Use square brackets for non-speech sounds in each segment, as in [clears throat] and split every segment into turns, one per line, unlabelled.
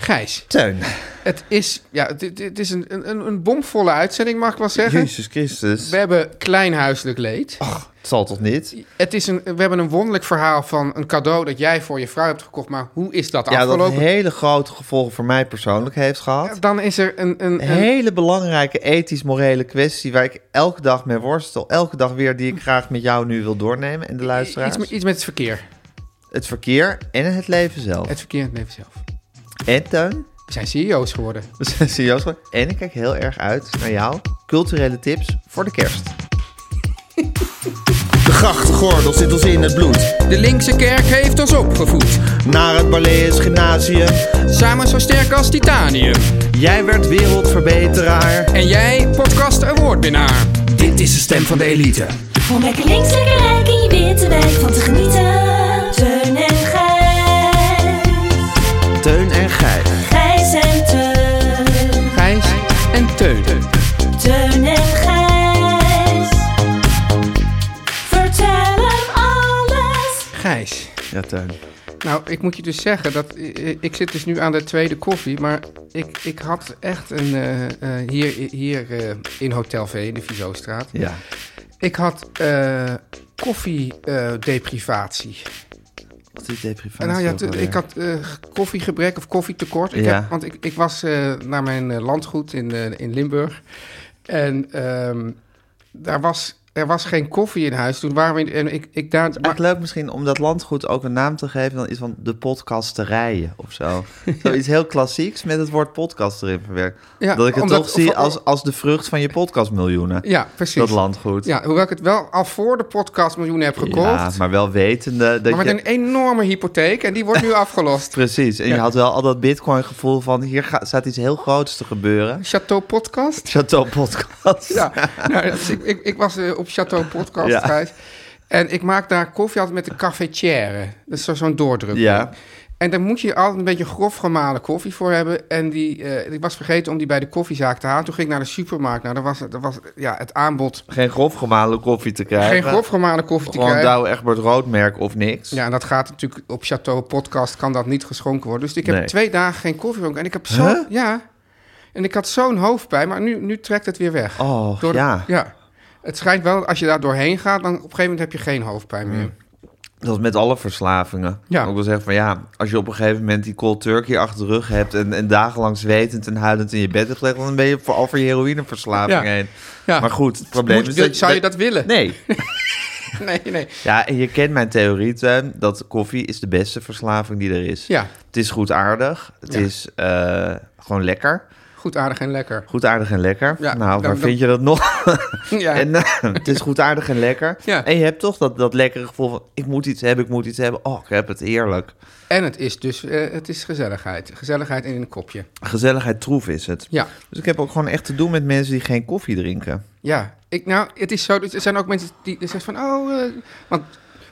Gijs,
Teun.
het is, ja, het, het- het is een, een, een bomvolle uitzending, mag ik wel zeggen.
Jezus Christus.
We hebben klein huiselijk leed.
Het zal toch niet?
Het is een, we hebben een wonderlijk verhaal van een cadeau dat jij voor je vrouw hebt gekocht. Maar hoe is dat
Ja, dat
afgelopen?
hele grote gevolgen voor mij persoonlijk heeft gehad.
Dan is er een... een,
Een
een-
hele belangrijke ethisch-morele kwestie waar ik elke dag mee worstel. Elke dag weer die ik graag met jou nu wil doornemen en de luisteraars.
iets, met- iets met het verkeer.
Het verkeer en het leven zelf.
Het verkeer in het leven zelf.
En Teun,
We zijn CEO's geworden.
[laughs] we zijn serieus geworden. En ik kijk heel erg uit naar jouw culturele tips voor de kerst.
[laughs] De grachtgordel zit ons in het bloed.
De linkse kerk heeft ons opgevoed,
Naar het Barlees Gymnasium.
samen zo sterk als titanium.
Jij werd wereldverbeteraar.
En jij, podcast awardwinnaar.
Dit is de stem van de elite.
Om lekker links, lekker rijk in je witte wijk van te genieten. Teun en Gijs.
Teun en Gijs.
Gijs en Teun.
Gijs en Teun.
Teun en Gijs. Vertel hem alles.
Gijs.
Ja, Teun.
Nou, ik moet je dus zeggen dat eh, ik zit dus nu aan de tweede koffie, maar ik, ik had echt een eh, eh, hier, hier eh, in Hotel V in de Vizostraat.
Ja.
Ik had eh koffiedeprivatie.
Wat is deprivatie
nou ja,
ook
t-
alweer.
ik had eh, koffiegebrek of koffietekort. Ik
Ja.
heb, want ik, ik was eh, naar mijn eh, landgoed in, eh, in Limburg. En ehm, daar was, er was geen koffie in huis. Toen waren we in, en ik, ik daar, maar-
Maar leuk misschien om dat landgoed ook een naam te geven. Dan is van de podcasterijen of
[laughs]
zo. Zoiets heel klassieks met het woord podcast erin verwerkt.
Ja,
dat ik het
omdat-
toch zie
of-
als, als de vrucht van je podcastmiljoenen.
ja, precies.
dat landgoed.
Ja, hoewel ik het wel al voor de podcast miljoenen heb gekocht.
Ja,
maar,
maar wel wetende dat
met
je...
een enorme hypotheek en die wordt
[laughs]
nu afgelost.
Precies. En je
Ja.
had wel al dat bitcoin gevoel van... hier gaat, staat iets heel groots te gebeuren.
Chateau Podcast?
Chateau Podcast.
[laughs] Ja, nou, dat is- ik, ik, ik was eh, op Chateau Podcast,
Ja.
Gijs. En ik maak daar koffie altijd met de cafetière. Dat is zo- zo'n doordruk.
Ja.
En daar moet je altijd een beetje grof gemalen koffie voor hebben. En die, eh, ik was vergeten om die bij de koffiezaak te halen. Toen ging ik naar de supermarkt. Nou, daar was, daar was ja, het aanbod
Geen grof gemalen koffie te krijgen.
geen grof gemalen koffie te
Gewoon
krijgen.
Douwe Egbert Roodmerk of niks.
Ja, en dat gaat natuurlijk op Chateau Podcast, kan dat niet geschonken worden. Dus ik heb
Nee.
twee dagen geen koffie gedronken. En ik heb zo, ja. En ik had zo'n hoofdpijn, maar nu, nu trekt het weer weg.
Oh, ja.
Ja. Het schijnt wel, als je daar doorheen gaat, dan op een gegeven moment heb je geen hoofdpijn
Hmm.
meer.
Dat is met alle verslavingen.
Ja.
Ook wel zeggen van ja, als je op een gegeven moment die cold turkey achter de rug hebt en, en dagenlang zwetend en huilend in je bed hebt gelegd, dan ben je voor al voor je heroïneverslaving
Ja.
heen.
Ja.
Maar goed, het probleem
Moet-
is
wil-
dat
zou je dat willen?
[laughs] Nee.
[laughs] Nee, nee.
Ja, en je kent mijn theorie, Teun, dat koffie is de beste verslaving die er is.
Ja.
Het is goed aardig, het
Ja.
is eh, gewoon lekker.
Goed, aardig en lekker. [laughs]
Goed aardig en lekker.
Ja,
nou, waar
dan- dan-
vind je dat nog?
Ja.
En eh, het is goed aardig en lekker.
Ja.
En je hebt toch dat, dat lekkere gevoel van ik moet iets hebben, ik moet iets hebben. Oh, ik heb het heerlijk.
En het is dus, eh, het is gezelligheid. Gezelligheid in een kopje.
Gezelligheid troef is het.
Ja.
Dus ik heb ook gewoon echt te doen met mensen die geen koffie drinken.
Ja, ik, nou, het is zo. dus Er zijn ook mensen die zeggen van, oh, eh, want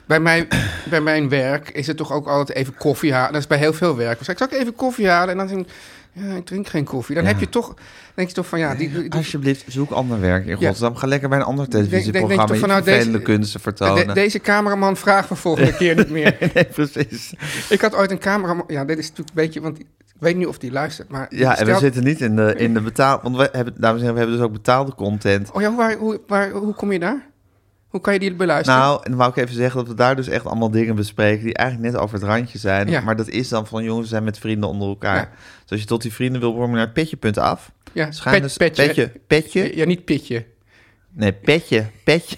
bij mijn, bij mijn werk is het toch ook altijd even koffie halen. Dat is bij heel veel werk. Dus ik zal ik even koffie halen en dan denk ik, ja, ik drink geen koffie. Dan heb je toch, denk je toch van, ja, die, die-
Alsjeblieft, zoek ander werk in
Ja.
godsnaam. Ga lekker bij een ander televisieprogramma
denk- denk je toch van, nou,
je vervelende
deze-
kunsten vertonen.
de- deze cameraman
[laughs]
vraagt me volgende keer niet meer.
Nee, precies.
Ik had ooit een cameraman, ja, dit is natuurlijk een beetje, want Ik weet niet of die luistert, maar...
Ja, en we
stel-
zitten niet in de, in de betaal... Want we hebben, dames en heren, we hebben dus ook betaalde content.
Oh ja, hoe- waar, hoe, waar, hoe kom je daar? Hoe kan je die beluisteren?
Nou, en dan wou ik even zeggen dat we daar dus echt allemaal dingen bespreken... die eigenlijk net over het randje zijn.
Ja.
Maar dat is dan van, jongens, we zijn met vrienden onder elkaar.
Ja.
Dus als je tot die vrienden wil behoren, moet je naar petje.af.
ja,
Schuine
pet-
s-
petje.
dus- Petje. petje.
Ja, niet pitje.
Nee, petje. Petje.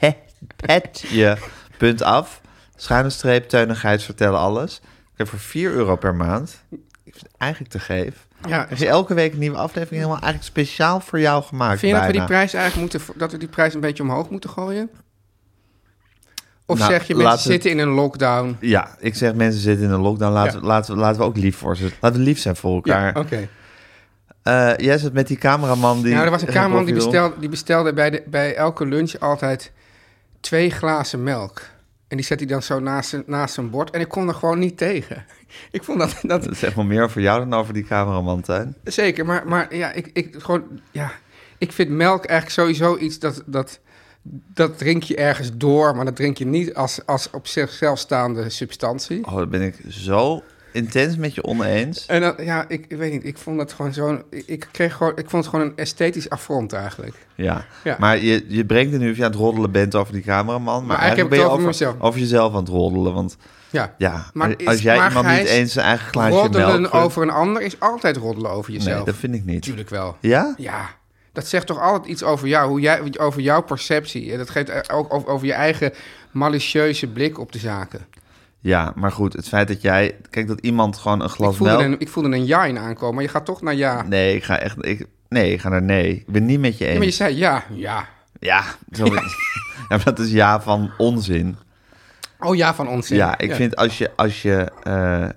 Pe- Petje. Punt af. Schuine streep, Teun en Gijs vertellen alles. Ik heb voor 4 euro per maand. Ik vind het eigenlijk te geef.
Ja,
Er is elke week een nieuwe aflevering helemaal eigenlijk speciaal voor jou gemaakt.
Vind je dat we die
bijna.
prijs eigenlijk moeten, dat we die prijs een beetje omhoog moeten gooien? Of
Nou,
zeg je
laten
mensen
we-
zitten in een lockdown?
Ja, ik zeg mensen zitten in een lockdown. Laten,
Ja.
we, laten, we, laten we ook lief voor ze. Laten we lief zijn voor
Ja,
elkaar. Eh
oké.
jij zat met die cameraman die...
Nou,
[laughs]
er was een
geen
kamerman die
koffie wil.
bestelde, die bestelde bij, de, bij elke lunch altijd twee glazen melk. En die zet hij dan zo naast, zijn- naast zijn bord. En ik kon er gewoon niet tegen. [laughs] Ik vond dat...
[laughs]
dat
Dat zegt wel meer over jou dan over die cameraman, Tuin.
Zeker, maar, maar ja, ik, ik, gewoon, ja, ik vind melk eigenlijk sowieso iets dat, dat, dat drink je ergens door, maar dat drink je niet als, als op zichzelf staande substantie.
Oh, dat ben ik zo intens met je oneens.
En dan, ja, ik, ik weet niet, ik vond dat gewoon zo'n, ik, ik kreeg gewoon, ik vond het gewoon een esthetisch affront eigenlijk.
Ja,
Ja.
maar je, je brengt het nu of je aan het roddelen bent over die cameraman. Maar,
Maar
eigenlijk,
eigenlijk heb ik
ben
het
je
over
over, over jezelf aan het roddelen. Want
Ja.
ja,
Maar
als-
is-
als jij
maar
iemand
Gijs,
niet eens zijn eigen glaasje
roddelen
melk... eh,
over een ander is altijd roddelen over jezelf.
Nee, dat vind ik niet.
Natuurlijk wel.
Ja?
Ja, dat zegt toch altijd iets over jou, hoe jij, over jouw perceptie. En dat geeft eh, ook over, over je eigen malicieuze blik op de zaken.
Ja, maar goed, het feit dat jij... Kijk, dat iemand gewoon een
Ik
glas
voelde,
melk...
een, ik voelde een ja in aankomen, maar je gaat toch naar ja.
Nee, ik ga echt... Ik, nee, ik ga naar nee. Ik ben niet met je
Ja, maar je
eens.
zei ja, ja.
Ja,
[laughs]
zo- ja. maar dat is ja van onzin.
Oh ja, Hmm. van ons. hè?
Ja, ik vind als je, als je eh,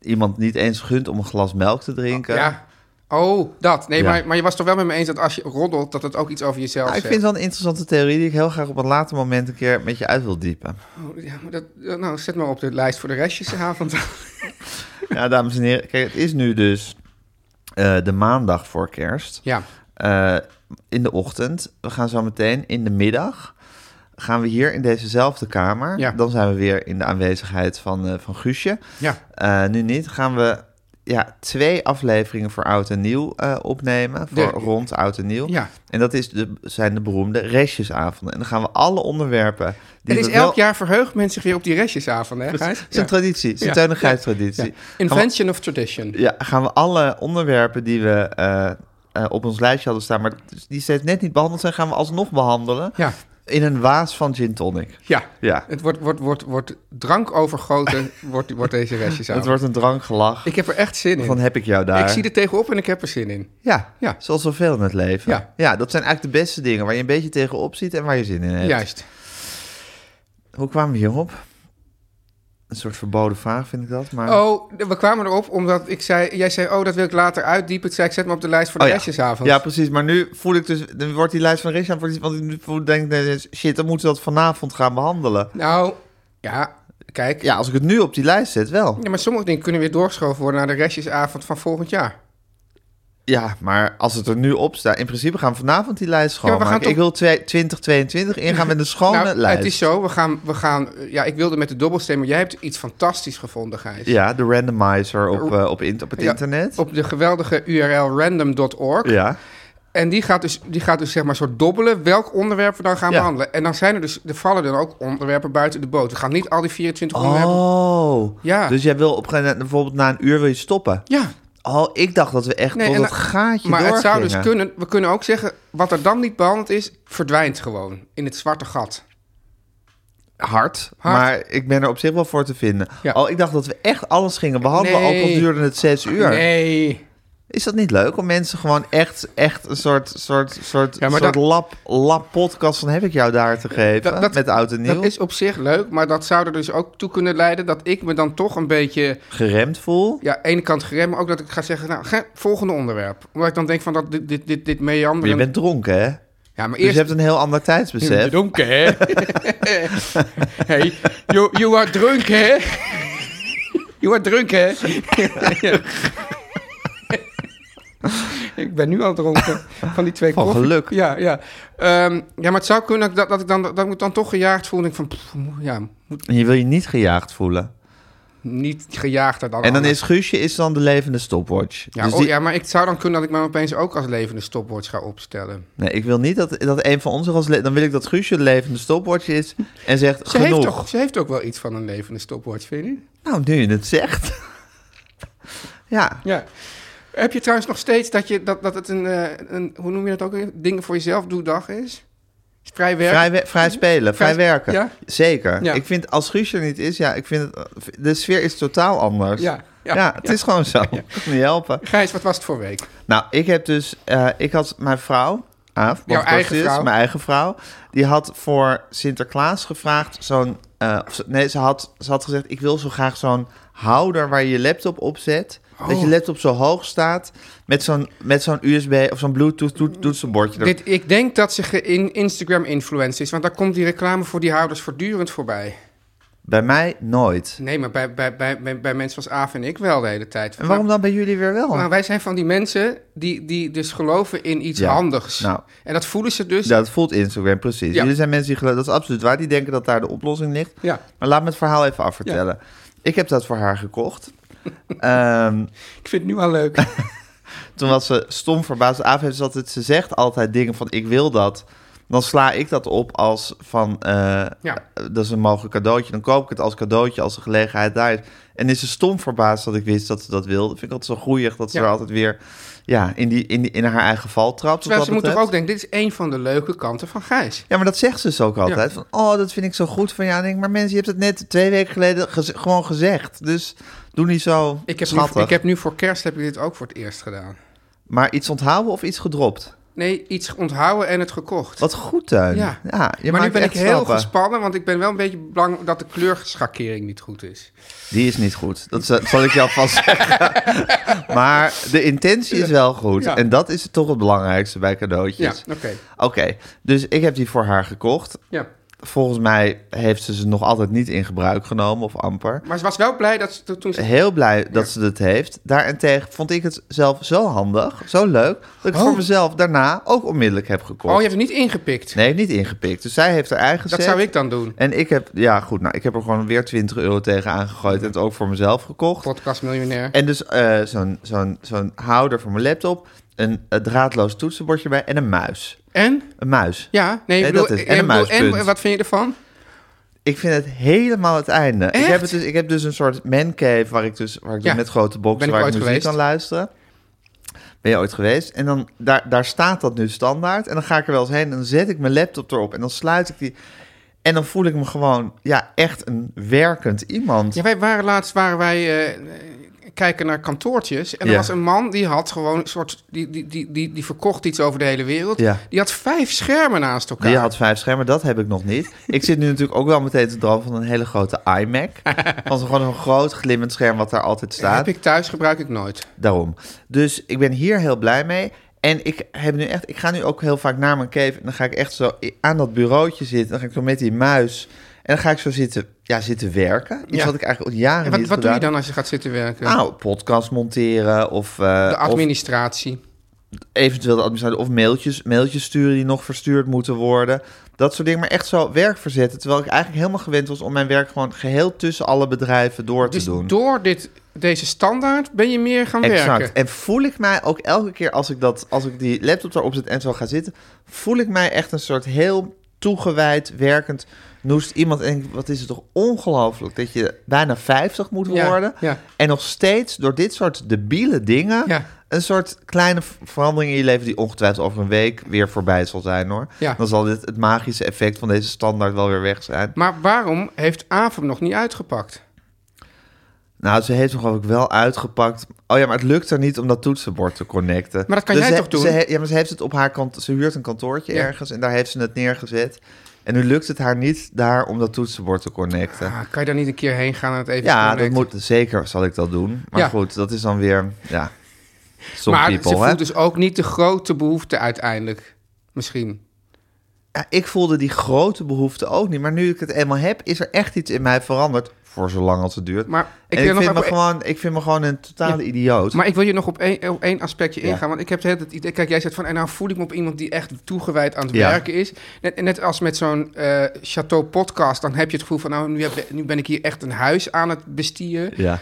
iemand niet eens gunt om een glas melk te drinken...
Ja. Oh, dat. Nee,
Ja.
maar, maar je was toch wel met me eens dat als je roddelt, dat het ook iets over jezelf
Nou, ik
zegt.
vind het wel een interessante theorie die ik heel graag op een later moment een keer met je uit wil
[laughs]
diepen.
Oh, ja, maar dat, nou, zet maar op de lijst voor de [laughs] restjesavond.
Ja, dames en heren, kijk, het is nu dus eh, de maandag voor kerst.
ja.
Eh, in de ochtend, we gaan zo meteen in de middag, gaan we hier in dezezelfde kamer.
Ja.
Dan zijn we weer in de aanwezigheid van, eh, van Guusje.
Ja.
Eh, nu niet, gaan we ja, twee afleveringen voor Oud en Nieuw eh, opnemen, voor
De-
rond Oud en Nieuw.
Ja.
En dat is de, zijn de beroemde restjesavonden. En dan gaan we alle onderwerpen... die
Het is
we wel-
elk jaar verheugt men zich weer op die restjesavond, hè,
Het
Gijs?
is een traditie, het is
Ja.
een Teun en Gijs traditie.
Ja. Invention of tradition.
Ja, gaan we alle onderwerpen die we eh, eh, op ons lijstje hadden staan, maar die steeds net niet behandeld zijn, gaan we alsnog behandelen
Ja.
in een waas van gin tonic.
Ja.
Ja,
Het wordt, wordt, wordt, wordt drank
[laughs]
overgoten, wordt, wordt deze restjesavond.
het wordt een drankgelach
Ik heb er echt zin in.
van heb ik jou daar.
Ik zie er tegenop en ik heb er zin in.
Ja,
Ja.
zoals zoveel in het leven.
Ja.
dat zijn eigenlijk de beste dingen waar je een beetje tegenop ziet en waar je zin in hebt.
Juist.
Hoe kwamen we hierop? Een soort verboden vraag vind ik dat, maar...
Oh, we kwamen erop omdat ik zei, jij zei, oh, dat wil ik later uitdiepen. Ik zei, ik zet me op de lijst voor de
Oh ja.
restjesavond.
Ja, precies. Maar nu voel ik dus, dan wordt die lijst van restjes, want ik nu voel- denk, nee, shit, dan moeten we dat vanavond gaan behandelen.
Nou, ja, kijk. Ja.
Ja, als ik het nu op die lijst zet, wel.
maar sommige dingen kunnen weer doorgeschoven worden naar de restjesavond van volgend jaar.
Ja, maar als het er nu op staat... In principe gaan we vanavond die lijst
maar we
schoonmaken.
gaan toch-
Ik wil twee- 2022 ingaan
[laughs]
met een schone
nou,
lijst.
het is zo, we gaan, we gaan, eh, ja, ik wilde met de dobbelsteen, maar jij hebt iets fantastisch gevonden, Gijs.
Ja, de randomizer op, eh, op, in- op het
Ja,
internet.
Op de geweldige URL random.org.
Ja,
En die gaat, dus, die gaat dus zeg maar soort dobbelen welk onderwerp we dan gaan
Ja.
behandelen. En dan zijn er dus, er vallen dan ook onderwerpen buiten de boot. We gaan niet al die 24 onderwerpen...
Oh,
Ja.
dus jij wil op, een- bijvoorbeeld na een uur wil je stoppen.
Ja,
Oh, ik dacht dat we echt
Nee,
tot
en
dat
dan-
gaatje
Maar het zou dus
doorgingen.
kunnen, we kunnen ook zeggen, wat er dan niet behandeld is, verdwijnt gewoon in het zwarte gat.
Hard,
Hard.
maar ik ben er op zich wel voor te vinden.
Ja.
Oh, ik dacht dat we echt alles gingen behandelen,
Nee. Ah,
ook al duurde het zes uur.
Nee.
Is dat niet leuk om mensen gewoon echt, echt een soort, soort, soort,
Ja, maar
soort
dat-
lab, lab podcast van heb ik jou daar te geven
Dat- dat-
met oud en nieuw?
Dat is op zich leuk, maar dat zou er dus ook toe kunnen leiden dat ik me dan toch een beetje,
Geremd voel.
ja, aan de ene kant gerem, maar ook dat ik ga zeggen, nou, ge- volgende onderwerp. Omdat ik dan denk van dat dit, dit, dit, dit
Maar je
meanderen.
bent dronken, hè?
ja, maar
Dus je
eerst.
hebt een heel ander tijdsbesef.
dronken, [laughs] hè? hey, you, you are drunk, hè? you are drunk, hè? Ja. [laughs] ik ben nu al dronken van die twee
Van
koffie.
geluk.
Ja, ja. Ehm, ja, maar het zou kunnen dat, dat ik dan dat ik me dan toch gejaagd voel. En ik van, pff, moe- ja, moet-
En je wil je niet gejaagd voelen.
niet gejaagder dan
En dan
anderen.
is Guusje is dan de levende stopwatch.
Ja,
dus
oh,
die-
ja, maar ik zou dan kunnen dat ik me opeens ook als levende stopwatch ga opstellen.
nee, ik wil niet dat, dat een van ons er als... le- Dan wil ik dat Guusje de levende stopwatch is en zegt
Ze
genoeg.
heeft, toch, ze heeft ook wel iets van een levende stopwatch, vind je niet?
Nou, nu je het zegt. [laughs] ja.
Ja. Heb je trouwens nog steeds dat, je, dat, dat het een, eh, een, hoe noem je dat ook weer? Dingen voor jezelf doe dag is? Vrij werk?
Vrij, we- vrij spelen, vrij,
Vrij-
werken.
ja.
Zeker.
Ja.
Ik vind, als Guusje er niet is, ja, ik vind het, de sfeer is totaal anders.
Ja, ja,
het is gewoon zo. Ik kan het niet helpen.
Gijs, wat was het voor week?
Nou, ik heb dus, eh, ik had mijn vrouw, Aaf,
Jouw
podcast
eigen
is,
vrouw.
mijn eigen vrouw, die had voor Sinterklaas gevraagd zo'n, eh, of ze- nee, ze had, ze had gezegd, ik wil zo graag zo'n houder waar je je laptop op zet, dat je
Oh.
laptop zo hoog staat, met zo'n, met zo'n USB of zo'n Bluetooth toet- toetsenbordje.
Dit, ik denk dat ze geïn- Instagram-influencer is, want daar komt die reclame voor die houders voortdurend voorbij.
Bij mij nooit.
Nee, maar bij, bij, bij, bij, bij mensen als Aaf en ik wel de hele tijd.
En waarom dan bij jullie weer wel?
Nou, wij zijn van die mensen die, die dus geloven in iets
Ja,
handigs.
nou.
En dat voelen ze dus.
Ja, dat voelt Instagram precies.
Ja.
Jullie zijn mensen die geloven, dat is absoluut waar. Die denken dat daar de oplossing ligt.
Ja.
Maar laat me het verhaal even afvertellen. Ik heb dat voor haar gekocht. Ehm,
Ik vind het nu al leuk.
toen was ze stom verbaasd. Aaf heeft altijd, ze zegt altijd dingen van ik wil dat. Dan sla ik dat op als van, eh, dat is een mogelijk cadeautje. Dan koop ik het als cadeautje, als de gelegenheid daar is. En is ze stom verbaasd dat ik wist dat ze dat wilde. Vind ik altijd zo groeiig dat ze
Ja.
er altijd weer ja, in, die, in, die, in haar eigen val trapt. wat
Terwijl
dat
ze moeten toch
betreft.
ook denken, dit is één van de leuke kanten van Gijs.
Ja, maar dat zegt ze dus ook altijd. Van, oh, dat vind ik zo goed van jou. En ik denk, maar mensen, je hebt het net twee weken geleden gez- gewoon gezegd. Dus doe niet zo
Ik heb, nu,
schattig.
ik heb nu voor kerst heb ik dit ook voor het eerst gedaan.
Maar iets onthouden of iets gedropt?
Nee, iets onthouden en het gekocht.
Wat goed, Tuin.
Ja.
Ja, je
maar nu
maakt
ben ik
echt
heel
stappen.
gespannen, want ik ben wel een beetje bang dat de kleurschakering niet goed is.
Die is niet goed. Dat z- zal ik jou [laughs] vast
[laughs]
zeggen. maar de intentie is wel goed.
Ja.
En dat is toch het belangrijkste bij
Ja,
cadeautjes.
oké.
Oké, dus ik heb die voor haar gekocht.
Ja.
Volgens mij heeft ze ze nog altijd niet in gebruik genomen of amper.
Maar ze was wel blij dat ze to- toen ze...
heel blij dat ze dat heeft. Daarentegen vond ik het zelf zo handig, zo leuk, dat ik het voor mezelf daarna ook onmiddellijk heb gekocht.
Oh, je hebt het niet ingepikt.
Nee, niet ingepikt. Dus zij heeft haar eigen
dat
set.
zou ik dan doen.
En ik heb, ja goed, nou, ik heb er gewoon weer 20 euro tegen aangegooid en het ook voor mezelf gekocht.
Podcast miljonair.
En dus eh, zo'n zo'n zo'n houder voor mijn laptop, een, eh, draadloos toetsenbordje bij en een muis.
En?
Een muis.
Ja, nee, ik
Nee,
bedoel,
dat is-
ik
en een
bedoel,
muispunt.
en wat vind je ervan?
Ik vind het helemaal het einde. Ik
Echt?
heb, het dus, ik heb dus een soort mancave waar ik dus, waar ik dus
Ja.
met grote boxen
Ben ik
waar ik
ooit
muziek
geweest?
kan luisteren. Ben je ooit geweest? En dan daar, daar staat dat nu standaard. En dan ga ik er wel eens heen en dan zet ik mijn laptop erop en dan sluit ik die. En dan voel ik me gewoon ja, echt een werkend iemand.
Ja, wij waren laatst waren wij eh, kijken naar kantoortjes. En er
Ja.
was een man die had gewoon een soort. Die, die, die, die, die verkocht iets over de hele wereld.
Ja.
Die had vijf schermen naast elkaar.
Die had vijf schermen, dat heb ik nog niet. Ik zit nu natuurlijk ook wel meteen te dromen van een hele grote
[laughs]
iMac. Van zo'n- gewoon een groot glimmend scherm wat daar altijd staat.
Heb ik thuis, gebruik ik nooit.
Daarom. Dus ik ben hier heel blij mee. En ik, heb nu echt, ik ga nu ook heel vaak naar mijn cave. En dan ga ik echt zo i- aan dat bureautje zitten. Dan ga ik zo met die muis. En dan ga ik zo zitten, ja, zitten werken. Iets
Ja.
wat ik eigenlijk al jaren
En wat,
niet
wat doe je
gedaan
dan als je gaat zitten werken?
heb. Nou, podcast monteren of, eh,
de
of
administratie.
eventueel de administratie of mailtjes, mailtjes sturen die nog verstuurd moeten worden. Dat soort dingen, maar echt zo werk verzetten. Terwijl ik eigenlijk helemaal gewend was om mijn werk gewoon geheel tussen alle bedrijven door te
Dus
doen.
door dit, deze standaard ben je meer gaan
Exact.
werken.
En voel ik mij ook elke keer als ik, dat, als ik die laptop erop zet en zo ga zitten, voel ik mij echt een soort heel toegewijd, werkend, noest iemand. En ik, wat is het toch ongelooflijk dat je bijna 50 moet
Ja,
worden
ja.
en nog steeds door dit soort debiele dingen
Ja.
een soort kleine v- verandering in je leven die ongetwijfeld over een week weer voorbij zal zijn hoor.
Ja.
Dan zal dit, het magische effect van deze standaard wel weer weg zijn.
Maar waarom heeft AVM nog niet uitgepakt?
Nou, ze heeft hem geloof ik wel uitgepakt. Oh ja, maar het lukt er niet om dat toetsenbord te connecten.
Maar dat kan
Dus
jij
ze-
toch doen?
ze he- ja, maar ze heeft het op haar kant. Ze huurt een kantoortje
Ja.
ergens en daar heeft ze het neergezet. En nu lukt het haar niet daar om dat toetsenbord te connecten.
Ah, kan je daar niet een keer heen gaan en het even
ja, dat
connecten?
moet zeker zal ik dat doen. Maar
Ja.
goed, dat is dan weer ja. Some
maar
people,
ze
hè?
voelt dus ook niet de grote behoefte uiteindelijk. Misschien.
Ja, ik voelde die grote behoefte ook niet. Maar nu ik het eenmaal heb, is er echt iets in mij veranderd. voor zolang als het duurt.
Maar ik
En
wil
ik,
nog
vind me
even-
gewoon, ik vind me gewoon een totale idioot.
Maar ik wil je nog op één, op één aspectje
Ja.
ingaan. Want ik heb het hele idee... Kijk, jij zegt van... En nou voel ik me op iemand die echt toegewijd aan het
Ja.
werken is. Net, net als met zo'n eh, Chateau podcast. Dan heb je het gevoel van... Nou, nu, heb, nu ben ik hier echt een huis aan het bestieren.
ja.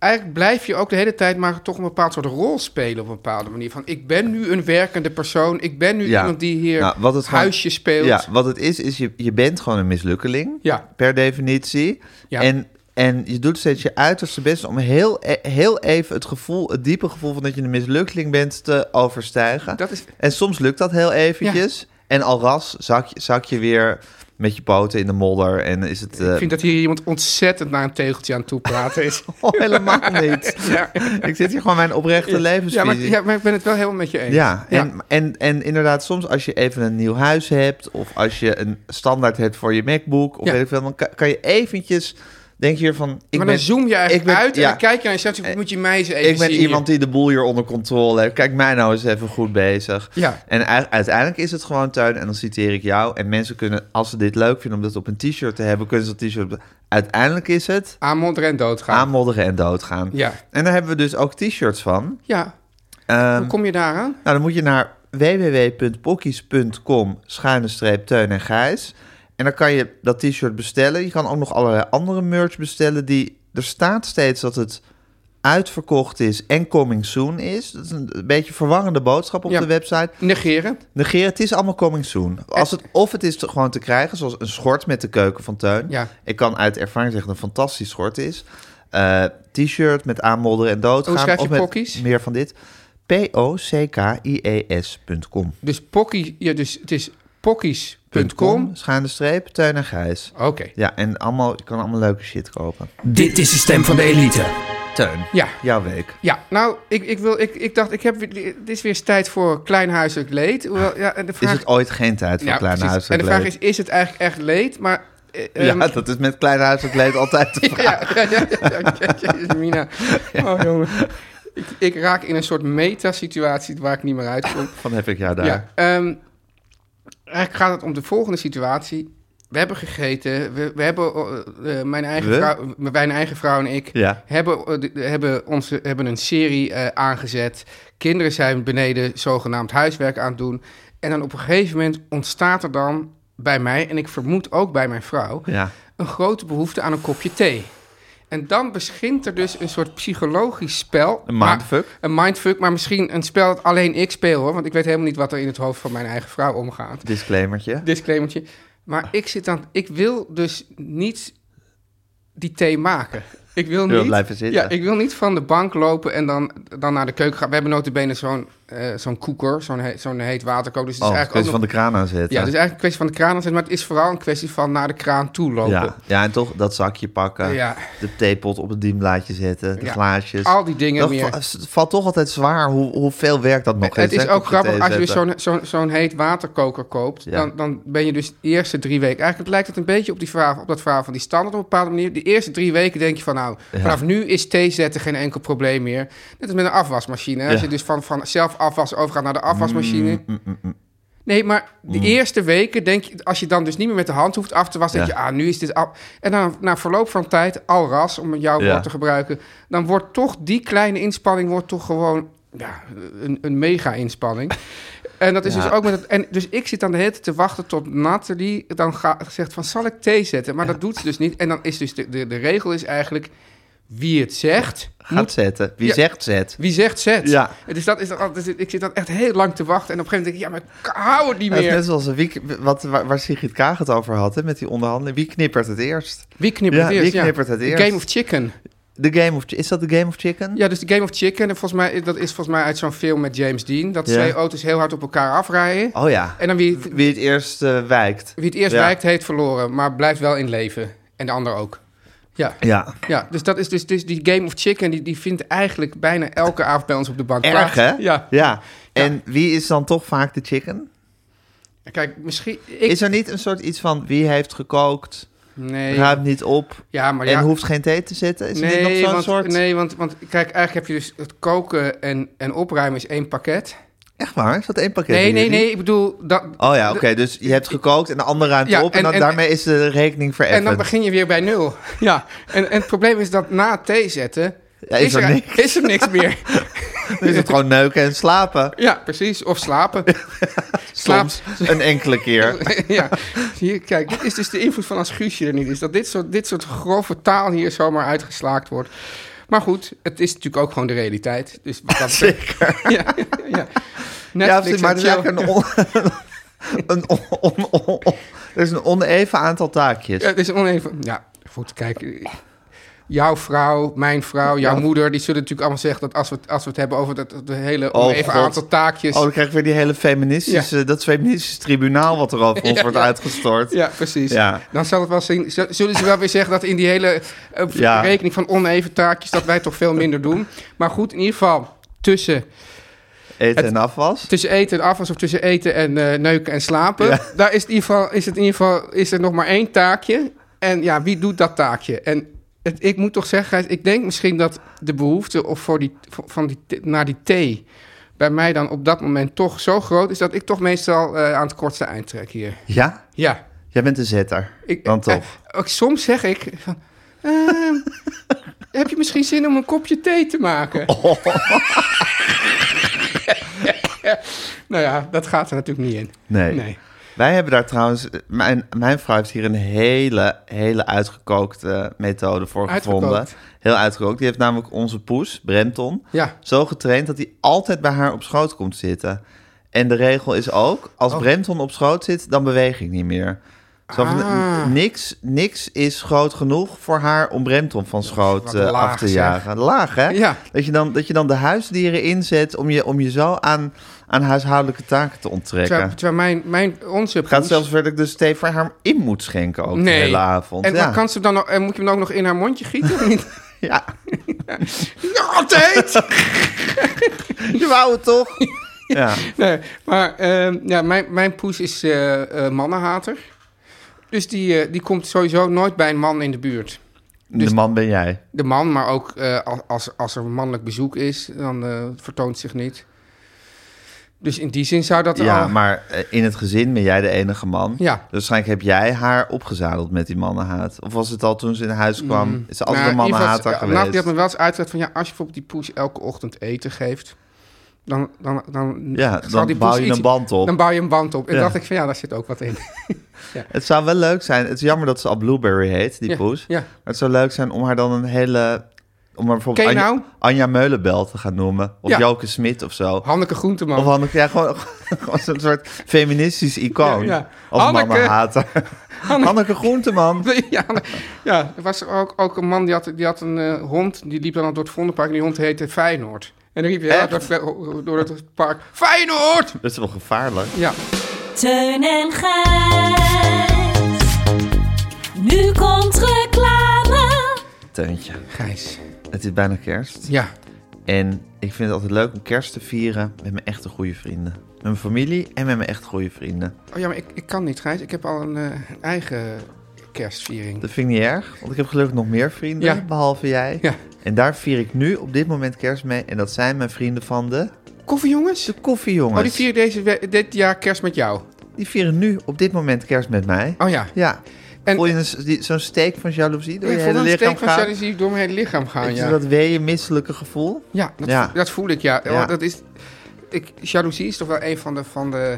Eigenlijk blijf je ook de hele tijd maar toch een bepaald soort rol spelen op een bepaalde manier. Van ik ben nu een werkende persoon. Ik ben nu
Ja.
iemand die hier
Nou, wat het gewoon-
huisje speelt.
Ja, wat het is, is je, je bent gewoon een mislukkeling.
Ja.
Per definitie.
Ja.
En, en je doet steeds je uiterste best om heel, e- heel even het gevoel, het diepe gevoel van dat je een mislukkeling bent te overstijgen.
Dat is-
En soms lukt dat heel eventjes. En al ras zak, je- zak je weer met je poten in de modder. En is het. eh,
Ik vind dat hier iemand ontzettend naar een tegeltje aan toe praten is.
[laughs] oh, helemaal niet.
[laughs] Ja.
Ik zit hier gewoon mijn oprechte levensvisie.
Ja maar, ja, maar ik ben het wel helemaal met je eens.
Ja, en, En, en inderdaad, soms als je even een nieuw huis hebt... of als je een standaard hebt voor je MacBook... of
Ja.
weet ik veel, dan kan, kan je eventjes... denk je hier van... Ik
maar dan
ben,
zoom je eigenlijk
ik ben-
uit en
ja.
dan
Eh,
kijk je naar jezelf. en Moet je mij eens even
ik ben
zien
iemand die de boel hier onder controle heeft. Kijk mij nou eens even goed bezig.
Ja.
En ui- uiteindelijk is het gewoon tuin. En dan citeer ik jou. En mensen kunnen, als ze dit leuk vinden om dat op een t-shirt te hebben, kunnen ze dat t-shirt. op- Uiteindelijk is het
hier aanmodderen en doodgaan.
aanmodderen en doodgaan.
Ja.
En daar hebben we dus ook t-shirts van.
ja,
Ehm,
hoe kom je daaraan?
Nou, dan moet je naar www.pokkies.com schuine streep Teun en Gijs. En dan kan je dat t-shirt bestellen. Je kan ook nog allerlei andere merch bestellen. Die, er staat steeds dat het uitverkocht is en coming soon is. Dat is een een beetje verwarrende boodschap op
Ja.
de website.
Negeren?
Negeer, het is allemaal coming soon.
Eh.
Als het, of het is te- gewoon te krijgen, zoals een schort met de keuken van Teun.
Ja.
Ik kan uit ervaring zeggen dat het een fantastisch schort is. Eh, T-shirt met aanmodderen en doodgaan.
Hoe Oh, schrijf je
of met
pokkies?
Meer van dit. P-O-C-K-I-E-S.com.
Dus pokkie, ja, dus het is pokkies.com.
Schuine streep, Teun en Gijs.
Oké.
Ja, en allemaal, je kan allemaal leuke shit kopen.
Dit is de stem van de elite.
Teun,
Ja.
jouw week.
Ja, nou, ik, ik, wil, ik, ik dacht, ik heb, weer- dit is weer eens tijd voor kleinhuiselijk leed. Hoewel, ja, en de
Ah, Is
vraag,
het ooit geen tijd voor
Ja,
kleine
precies. En
huiselijk
de vraag
leed?
is, is het eigenlijk echt leed? Maar, eh, ehm,
Ja, dat is met kleine huiselijk leed altijd de
[laughs]
vraag.
ja, ja, ja, [laughs] ja, ja, jezus,
[laughs]
Mina. Oh, jongen. Ik, ik raak in een soort meta-situatie waar ik niet meer uitkom.
Van heb ik jou daar.
Ja, ehm, eigenlijk gaat het om de volgende situatie. We hebben gegeten, we, we hebben, eh, eh, mijn, eigen
We?
Vrouw, mijn eigen vrouw en ik
Ja.
hebben, eh, de- de- hebben, onze, hebben een serie eh, aangezet. Kinderen zijn beneden zogenaamd huiswerk aan het doen. En dan op een gegeven moment ontstaat er dan bij mij, en ik vermoed ook bij mijn vrouw,
Ja.
een grote behoefte aan een kopje thee. En dan begint er dus een soort psychologisch spel.
Een
maar-
mindfuck.
een mindfuck, maar misschien een spel dat alleen ik speel hoor. Want ik weet helemaal niet wat er in het hoofd van mijn eigen vrouw omgaat.
Disclaimertje.
Disclaimertje. Maar ik zit aan. Ik wil dus niet die thee maken. Ik wil
[laughs] wil
niet.
blijven zitten.
Ja, ik wil niet van de bank lopen en dan, dan naar de keuken gaan. We hebben notabene zo'n eh zo'n koeker, zo'n he- zo'n heet waterkoker. Dus het
Oh,
is
een
eigenlijk
kwestie
ook
van de kraan aanzetten.
Ja, dus eigenlijk een kwestie van de kraan aanzetten. Maar het is vooral een kwestie van naar de kraan toe lopen.
Ja, ja, en toch dat zakje pakken,
Ja.
de theepot op het dienblaadje zetten, de
Ja,
glaasjes.
al die dingen
dat
meer.
va- Het valt toch altijd zwaar hoe, hoeveel werk dat nog
Nee,
heeft.
Het is
hè,
ook
kopje
grappig,
thee
als je dus
zetten.
zo'n zo'n zo'n heet waterkoker koopt,
Ja.
dan, dan ben je dus de eerste drie weken... Eigenlijk lijkt het een beetje op, die verhaal, op dat verhaal van die standaard op een bepaalde manier. De eerste drie weken denk je van, nou, vanaf nu is thee zetten geen enkel probleem meer. Net als met een afwasmachine. hè. Als
Ja. Mm.
je dus van, van zelf afwas overgaat naar de afwasmachine... Nee, maar de eerste weken denk je, als je dan dus niet meer met de hand hoeft af te wassen, denk
Ja.
je, ah, nu is dit af. En dan na verloop van tijd, al ras, om jouw
Ja.
woord te gebruiken, dan wordt toch die kleine inspanning wordt toch gewoon ja, een, een mega
[laughs]
inspanning. En dat is dus ook met het. En dus ik zit dan de hele tijd te wachten tot Nathalie dan ga, zegt van zal ik thee zetten? Maar dat doet ze dus niet. En dan is dus de, de, de regel is eigenlijk wie het zegt,
Gaat zetten. Wie
Ja.
zegt zet?
wie zegt zet.
Ja.
Dus dat is dan altijd. Ik zit dan echt heel lang te wachten en op een gegeven moment denk ik ja, maar ik hou het niet
Dat is
meer.
net zoals een wiek, wat, waar, waar Sigrid Kaag het over had, hè, met die onderhandeling. Wie knippert het eerst?
Wie knippert
Ja,
het eerst?
wie knippert het
The
eerst?
Game of Chicken.
The game of, Chi- is dat de Game of Chicken?
Ja, dus de Game of Chicken, en volgens mij, dat is volgens mij uit zo'n film met James Dean. Dat
Ja.
twee auto's heel hard op elkaar afrijden.
Oh ja.
En dan wie,
Wie het eerst eh, wijkt.
wie het eerst
Ja.
wijkt, heeft verloren. Maar blijft wel in leven. En de ander ook. Ja.
Ja.
Ja, dus dat is dus, dus die Game of Chicken, die, die vindt eigenlijk bijna elke avond bij ons op de bank
Erg,
plaats.
hè?
Ja.
ja. En wie is dan toch vaak de chicken?
Kijk, misschien... Ik,
Is er niet een soort iets van wie heeft gekookt,
nee.
ruimt niet op
Ja, maar
en
ja.
hoeft geen thee te zetten? Is er niet
nee,
nog zo'n
want,
soort...
nee want, want kijk, eigenlijk heb je dus het koken en, en opruimen is één pakket.
Echt waar? Is dat één pakket?
Nee,
bij
nee,
jullie?
nee. Ik bedoel, dat,
Oh ja, oké. dus je hebt gekookt en de andere ruimt
Ja,
op. En,
en-
dan,
en-
daarmee is de rekening vereffend.
en dan begin je weer bij nul. [laughs] Ja. En, en het probleem is dat na thee zetten...
Ja, is er niks.
is er niks
[laughs]
meer.
Dan is het gewoon neuken en slapen.
Ja, precies. Of slapen. Slaap.
Soms. Een enkele keer.
[laughs] ja, hier, kijk, dit is dus de invloed van als Guusje er niet is. Dat dit soort, dit soort grove taal hier zomaar uitgeslaakt wordt. Maar goed, het is natuurlijk ook gewoon de realiteit. Dus wat dat
[laughs]
Zeker. Ja, ja, ja.
Ja,
Netflix en
precies, maar er is
chill.
eigenlijk een, on, [laughs] een on, on- on- on- er is een oneven aantal taakjes.
Ja, het is oneven. Ja, goed, kijk. eh, Jouw vrouw, mijn vrouw, jouw moeder, die zullen natuurlijk allemaal zeggen dat als we het, als we het hebben over dat, dat hele
Oh,
oneven
God.
aantal taakjes.
Oh, dan krijg ik weer die hele feministische, dat feministische tribunaal wat er over ons wordt uitgestort.
Ja, precies.
Ja.
Dan zal het wel zien. z- Zullen ze wel weer zeggen dat in die hele eh,
Ja.
rekening van oneven taakjes dat wij toch veel minder doen. Maar goed, in ieder geval tussen,
Eten en afwas.
tussen eten en afwas of tussen eten en eh, neuken en slapen.
Ja.
Daar is, het in ieder geval, is het in ieder geval is er nog maar één taakje. En ja, wie doet dat taakje? En het, ik moet toch zeggen, Gijs, ik denk misschien dat de behoefte of voor die, voor- van die, t- naar die thee bij mij dan op dat moment toch zo groot is dat ik toch meestal eh, aan het kortste eind trek hier.
Ja?
Ja.
Jij bent een zetter.
Ik,
dan toch.
eh, ook soms zeg ik van...
[laughs]
ehm, heb je misschien zin om een kopje thee te maken?
Oh.
[laughs] nou ja, dat gaat er natuurlijk niet in.
nee.
Nee.
Wij hebben daar trouwens... Mijn, mijn vrouw heeft hier een hele, hele uitgekookte methode voor
Uitgekookt.
gevonden. Heel uitgekookt. Die heeft namelijk onze poes, Brenton...
Ja.
zo getraind dat hij altijd bij haar op schoot komt zitten. En de regel is ook, als
Oh.
Brenton op schoot zit, dan beweeg ik niet meer. Zo van,
Ah.
niks, niks is groot genoeg voor haar om Brenton van schoot
wat
eh, af
laag,
te
zeg.
jagen. Laag, hè?
Ja.
Dat, je dan, dat je dan de huisdieren inzet om je, om je zo aan, aan huishoudelijke taken te onttrekken.
Terwijl, terwijl mijn, mijn, onze
Het gaat
poes-
zelfs verder dat ik dus thee voor haar in moet schenken ook de
Nee.
hele avond.
En,
ja.
maar kan ze dan, nog- en moet je hem dan ook nog in haar mondje gieten? of
[laughs]
niet?
ja.
Altijd!
Je wou het
[laughs]
toch? ja.
Nee, maar ehm, ja, mijn, mijn poes is eh, eh, mannenhater. Dus die, eh, die komt sowieso nooit bij een man in de buurt. Dus-
de man ben jij.
De man, maar ook eh, als- als, als er mannelijk bezoek is, dan eh, vertoont zich niet. Dus in die zin zou dat
Ja,
al...
maar eh, in het gezin ben jij de enige man.
Ja.
Dus waarschijnlijk heb jij haar opgezadeld met die mannenhaat. Of was het al toen ze in huis kwam? Is ze altijd
Nou,
een
in ieder geval,
mannenhater
eh, Nat, die had
geweest?
me wel eens uitgelegd van... ja, als je bijvoorbeeld die poes elke ochtend eten geeft... dan, dan, dan,
Ja,
zal
dan
die
bouw
poes
je
iets-
een band op.
Dan bouw je een band op. En
Ja.
dacht ik van ja, daar zit ook wat in. [laughs]
Het zou wel leuk zijn. Het is jammer dat ze al Blueberry heet, die
Ja,
poes.
ja.
Maar het zou leuk zijn om haar dan een hele... Om haar bijvoorbeeld
Ken je
Anja,
nou?
Anja Meulenbel te gaan noemen. Of
Ja.
Joke Smit of zo.
Hanneke Groenteman. [laughs]
Of Hanneke, ja, gewoon, [laughs] gewoon zo'n soort feministisch icoon.
Ja, ja.
Als
Hanneke.
mannenhater. Hanneke, Groenteman.
ja, ja, er was ook, ook een man die had, die had een eh, hond. Die liep dan door het Vondelpark en die hond heette Feyenoord. En dan riep je
Echt?
door, het- door het park... Feyenoord!
Dat is wel gevaarlijk.
Ja.
Teun en Gijs. Nu komt reclame.
Teuntje,
Gijs.
het is bijna kerst.
Ja.
En ik vind het altijd leuk om kerst te vieren met mijn echte goede vrienden. Met mijn familie en met mijn echt goede vrienden.
Oh ja, maar ik, ik kan niet, Gijs. Ik heb al een eh, eigen kerstviering.
Dat vind ik niet erg, want ik heb gelukkig nog meer vrienden,
Ja.
behalve jij.
Ja.
En daar vier ik nu op dit moment kerst mee. En dat zijn mijn vrienden van de
Koffiejongens?
koffiejongens.
Oh, die vieren deze we- dit jaar kerst met jou.
Die vieren nu op dit moment kerst met mij.
Oh ja.
Ja.
En-
Voel je een s- die- zo'n steek van jaloezie door
ik
je
voel
hele
een
lichaam
steek van
gaan?
jaloezie door mijn hele lichaam gaan,
Weet je
ja.
dat weeën, misselijke gevoel?
Ja, dat,
Ja.
voel- dat voel ik, ja.
Ja.
Want Dat is, ik, jaloezie is toch wel een van de, van de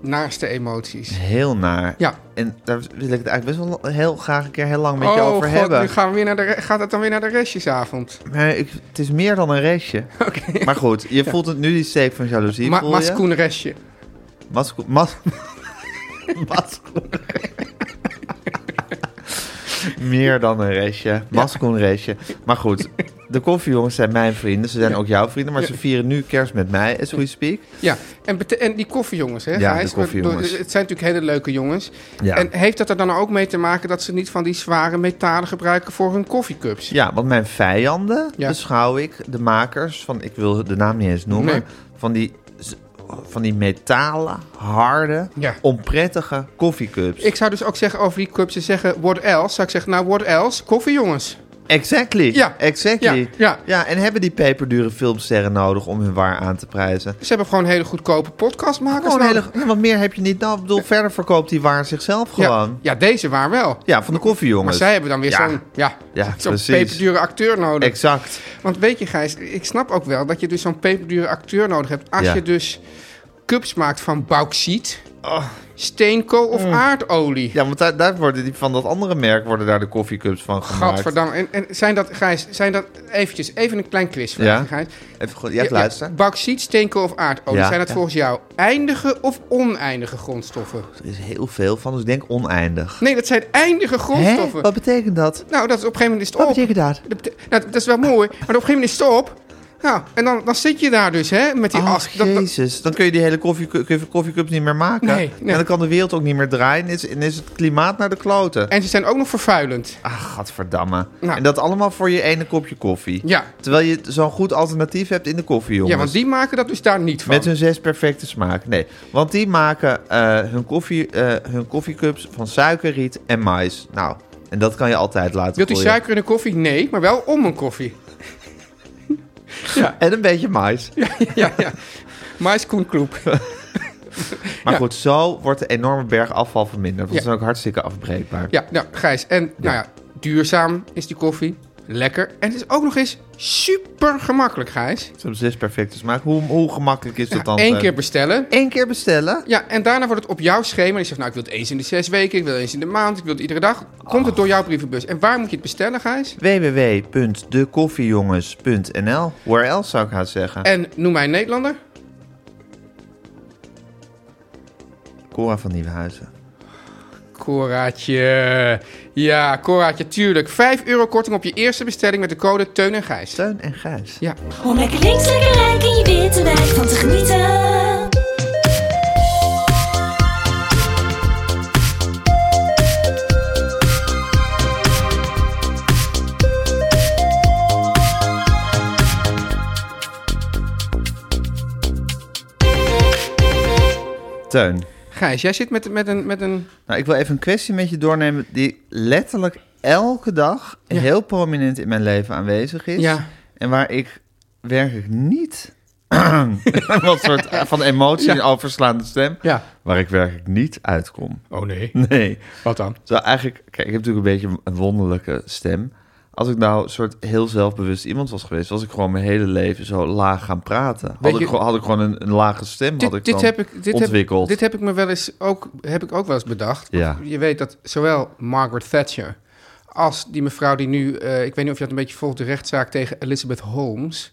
naaste emoties.
Heel naar.
Ja.
En daar wil ik het eigenlijk best wel heel graag een keer heel lang met je
oh
over
god,
hebben.
nu gaan we weer naar de, re- gaat het dan weer naar de restjesavond.
Maar ik, het is meer dan een
[laughs]
restje. Maar goed, je voelt het nu die steek van jaloezie.
Ma
voel je?
Maskoen restje.
Maskoen. Mas, [laughs] maskoen. [laughs] meer dan een restje. Maskoen restje. Maar goed, de koffiejongens zijn mijn vrienden. Ze zijn ook jouw vrienden. Maar ze vieren nu kerst met mij, as we speak.
Ja, en, bete- en die koffiejongens, hè?
Ja,
Gijs?
de koffiejongens.
Het zijn natuurlijk hele leuke jongens.
Ja.
En heeft dat er dan ook mee te maken dat ze niet van die zware metalen gebruiken voor hun koffiecups?
Ja, want mijn vijanden
Ja.
beschouw ik de makers van, ik wil de naam niet eens noemen,
Nee.
van, die, z- van die metalen, harde,
Ja.
onprettige koffiecups.
Ik zou dus ook zeggen over die cups, ze zeggen what else? Zou ik zeggen, nou what else? Koffiejongens.
Exactly.
Ja.
Exactly.
Ja, ja.
en hebben die peperdure filmsterren nodig om hun waar aan te prijzen?
Ze hebben gewoon hele goedkope podcastmakers
Gewoon hele,
nodig.
ja, want meer heb je niet. Nou, ik bedoel, verder verkoopt die waar zichzelf gewoon. Ja,
Ja, ja, deze waren wel.
van de koffiejongens.
Maar zij hebben dan weer
Ja.
zo'n ja,
Ja,
zo'n
precies.
peperdure acteur nodig.
Exact.
Want weet je, Gijs, ik snap ook wel dat je dus zo'n peperdure acteur nodig hebt. Als
Ja.
je dus cups maakt van bauxiet, steenkool of
Mm.
aardolie.
Oh. Ja, want daar, daar worden die, van dat andere merk worden daar de koffiecups van gemaakt.
Gadverdamme. En, en zijn dat, Gijs, zijn dat eventjes, even een klein quiz
Ja.
Gijs.
Even goed, jij ja, luisteren.
Bauxiet, steenkool of aardolie,
Ja,
zijn dat
ja.
volgens jou eindige of oneindige grondstoffen?
Er is heel veel van, dus ik denk oneindig.
Nee, dat zijn eindige
Hè?
grondstoffen.
Wat betekent dat?
Nou, dat is op een gegeven moment is het
Wat
op.
betekent dat?
Dat, bete- nou, dat is wel mooi, maar op een gegeven moment is het op. Nou, en dan, dan zit je daar dus, hè, met die
Oh,
as. Dat- dat-
jezus. Dan kun je die hele koffie, kun- koffiecups niet meer maken.
Nee, nee.
En dan kan de wereld ook niet meer draaien. En is, en is het klimaat naar de kloten.
en ze zijn ook nog vervuilend.
Ach, Ah, gadverdamme.
Nou.
En dat allemaal voor je ene kopje koffie.
Ja.
Terwijl je zo'n goed alternatief hebt in de koffie, jongens.
Ja, want die maken dat dus daar niet van.
Met hun zes perfecte smaak. Nee, want die maken eh, hun, koffie, eh, hun koffiecups van suikerriet en mais. Nou, en dat kan je altijd laten
Wilt u
groeien.
suiker in een koffie? Nee, maar wel om een
[laughs]
koffie.
En een beetje mais.
ja, ja. Maiskoenkloep.
Maar
Ja.
goed, zo wordt de enorme berg afval verminderd. Want
Ja.
ze zijn ook hartstikke afbreekbaar.
Ja, nou, Gijs. En, nou ja, duurzaam is die koffie. Lekker. En het is ook nog eens super gemakkelijk, Gijs.
Ze hebben zes perfecte smaak. Hoe, hoe gemakkelijk is dat dan?
Eén
Teun?
keer bestellen.
Eén keer bestellen?
Ja, en daarna wordt het op jouw schema. Je zegt, nou, ik wil het eens in de zes weken, ik wil het eens in de maand, ik wil het iedere dag. Komt
Ah.
het door jouw brievenbus. En waar moet je het bestellen, Gijs?
www.dekoffiejongens.nl Where else zou ik gaan zeggen?
En noem mij een Nederlander.
Cora van Nieuwenhuizen.
Coraatje. Ja, Coraatje, tuurlijk. 5 euro korting op je eerste bestelling met de code Teun en Gijs.
Teun en Gijs.
Ja.
Om lekker links, lekker rijk in je witte wijk van te genieten.
Teun.
Gijs, jij zit met, met, een, met een...
Nou, ik wil even een kwestie met je doornemen die letterlijk elke dag
Ja.
heel prominent in mijn leven aanwezig is.
Ja.
En waar ik werkelijk niet... [clears throat] wat soort van emotie
Ja.
overslaande stem.
Ja.
Waar ik werkelijk niet uitkom. [laughs]
Oh nee,
Nee.
wat dan?
Zo eigenlijk, kijk, ik heb natuurlijk een beetje een wonderlijke stem. Als ik nou een soort heel zelfbewust iemand was geweest, was ik gewoon mijn hele leven zo laag gaan praten. Had,
Weet je-
ik, gewoon- had ik gewoon een, een lage stem had ik
dit, dit
dan
heb ik, dit
ontwikkeld.
Heb, dit heb ik me wel eens ook, heb ik ook wel eens bedacht.
Ja.
Want Je weet dat zowel Margaret Thatcher als die mevrouw die nu... eh, ik weet niet of je dat een beetje volgt, de rechtszaak tegen Elizabeth Holmes.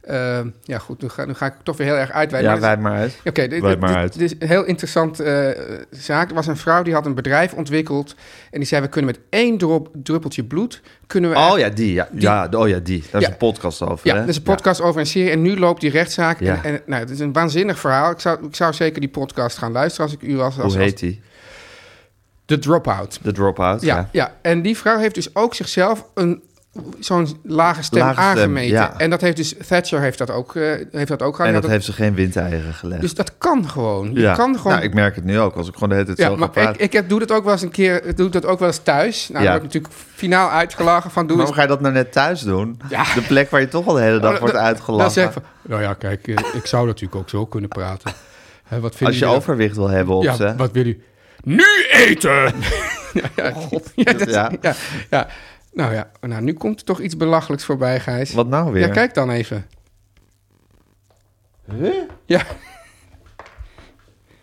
Eh, ja goed, nu ga, nu ga ik toch weer heel erg uitweiden.
ja,
maar
wij
dit-
maar uit.
Oké, dit,
Wijd
dit-
maar
dit-
uit.
dit is een heel interessant eh, zaak. Er was een vrouw die had een bedrijf ontwikkeld. En die zei, we kunnen met één drop, druppeltje bloed... Kunnen we
Oh ja, die. Ja, Ja, oh ja, die. Daar is
Ja.
een podcast over.
Ja,
hè?
er is een podcast over een serie en nu loopt die rechtszaak.
Ja.
En, en, nou, het is een waanzinnig verhaal. Ik zou, ik zou zeker die podcast gaan luisteren als ik u was. Als,
Hoe heet
als-
die?
De Dropout.
De Dropout.
Ja, ja. en die vrouw heeft dus ook zichzelf een zo'n lage stem
Lage stem,
aangemeten.
ja.
En dat heeft dus Thatcher heeft dat ook, eh, heeft dat ook gedaan. Die
En dat
had
heeft ze geen windeieren gelegd.
Dus dat kan gewoon. Je
ja.
kan gewoon.
Nou, ik merk het nu ook. Als ik gewoon de hele tijd
ja,
zo ga
maar
praten.
ik, ik heb, doe dat ook wel eens een keer. Doe ik dat ook wel eens thuis. Nou,
Ja.
dan word ik natuurlijk finaal uitgelachen van doe
maar
eens
hoe ga je dat nou net thuis doen?
Ja.
De plek waar je toch al de hele dag
Oh,
wordt
dat-
uitgelachen.
Dan zeg ik van, nou ja, kijk, eh, ik zou natuurlijk ook zo kunnen praten. Hè, wat vinden
Als je
jullie-
overwicht wil hebben op
ja,
ze.
wat wil u? Nu eten! [laughs] ja, ja, [laughs] ja, dat is-
Oh, ja.
ja, ja. Nou ja, nou, nu komt er toch iets belachelijks voorbij, Gijs.
Wat nou weer?
Ja, kijk dan even. Ja,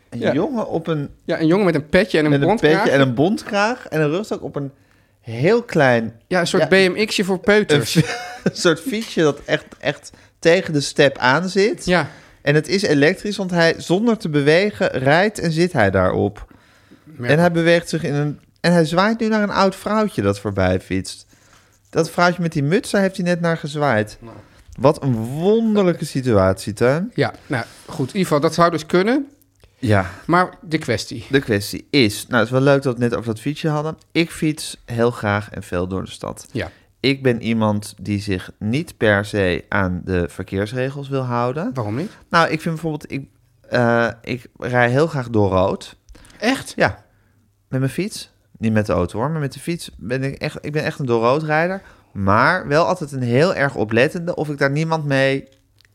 Een
ja.
jongen op een
ja, een jongen met een petje en een
Met een
bondkraag.
petje en een bondkraag en een rugzak op een heel klein
Ja, een soort
Ja.
BMX'je voor peuters.
[laughs] soort fietsje dat echt, echt tegen de step aan zit.
Ja,
En het is elektrisch, want hij zonder te bewegen rijdt en zit hij daarop. En hij beweegt zich in een... En hij zwaait nu naar een oud vrouwtje dat voorbij fietst. Dat vrouwtje met die muts, daar heeft hij net naar gezwaaid. Wat een wonderlijke situatie, Tuin.
ja, nou goed, in ieder geval, dat zou dus kunnen.
Ja.
Maar de kwestie.
De kwestie is... Nou, het is wel leuk dat we het net over dat fietsje hadden. Ik fiets heel graag en veel door de stad.
Ja,
Ik ben iemand die zich niet per se aan de verkeersregels wil houden.
waarom niet?
Nou, ik vind bijvoorbeeld, ik, eh, ik rij heel graag door rood.
Echt?
Ja, met mijn fiets. Niet met de auto hoor, maar met de fiets ben ik echt, ik ben echt een door rood rijder. Maar wel altijd een heel erg oplettende of ik daar niemand mee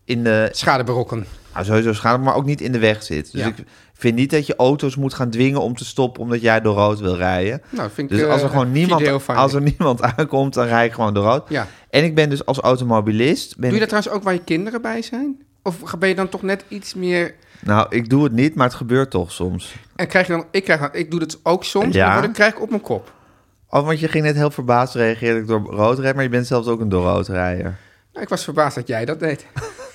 in de...
Schade berokken.
Nou, sowieso schade, maar ook niet in de weg zit. Dus
Ja.
ik vind niet dat je auto's moet gaan dwingen om te stoppen omdat jij door rood wil rijden.
Nou, vind ik,
Dus
eh,
als er gewoon
een
niemand,
video van
als
je.
er niemand aankomt, dan rij ik gewoon door rood.
Ja.
En ik ben dus als automobilist... Ben
Doe je dat
ik-
trouwens ook waar je kinderen bij zijn? Of ben je dan toch net iets meer...
Nou, ik doe het niet, maar het gebeurt toch soms.
En krijg je dan... Ik, krijg, dan- ik doe dat ook soms,
Ja.
ja. maar dan krijg ik op mijn kop.
Oh, want je ging net heel verbaasd reageren dat ik door rood rijd, maar je bent zelfs ook een door rood rijder.
Nou, ik was verbaasd dat jij dat deed.
[laughs]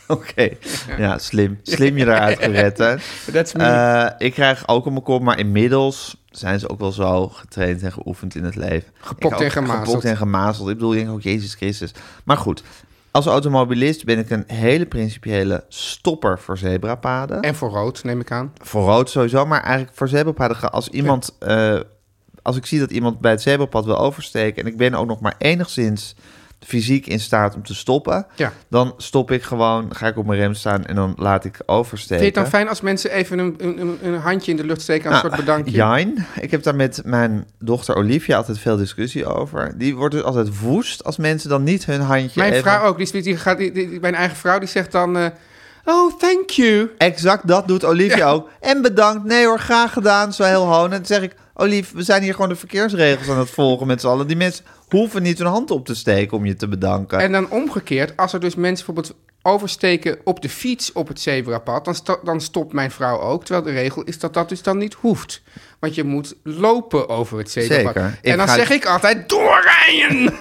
Oké, ja, slim. Slim je daaruit gered, hè?
[laughs] That's me.
Eh, ik krijg ook op mijn kop, maar inmiddels zijn ze ook wel zo getraind en geoefend in het leven.
Gepokt
Ik ook
en gemazeld.
Gepokt en gemazeld. Ik bedoel, ik denk ook, Jezus Christus. Maar goed, als automobilist ben ik een hele principiële stopper voor zebrapaden.
En voor rood, neem ik aan.
voor rood sowieso, maar eigenlijk voor zebrapaden gaan. Als iemand, eh, als ik zie dat iemand bij het zebrapad wil oversteken en ik ben ook nog maar enigszins fysiek in staat om te stoppen,
Ja.
dan stop ik gewoon, ga ik op mijn rem staan en dan laat ik oversteken.
Vind je het dan fijn als mensen even een, een- een, een handje in de lucht steken als een soort bedankje?
Jijn, ik heb daar met mijn dochter Olivia altijd veel discussie over. Die wordt dus altijd woest als mensen dan niet hun handje
Mijn
even-
vrouw ook. Die, is- die gaat, die, die- mijn eigen vrouw die zegt dan... eh, oh, thank you.
Exact dat doet Olivia ook. En bedankt. Nee hoor, graag gedaan. Zo heel hoon. En dan zeg ik, Olief, we zijn hier gewoon de verkeersregels aan het volgen met z'n allen. Die mensen hoeven niet hun hand op te steken om je te bedanken.
En dan omgekeerd, als er dus mensen bijvoorbeeld oversteken op de fiets op het zebrapad... Dan, sto- dan stopt mijn vrouw ook. Terwijl de regel is dat dat dus dan niet hoeft. Want je moet lopen over het zebrapad.
Zeker. Ik
En dan
ga-
zeg ik altijd,
[laughs]
doorrijden!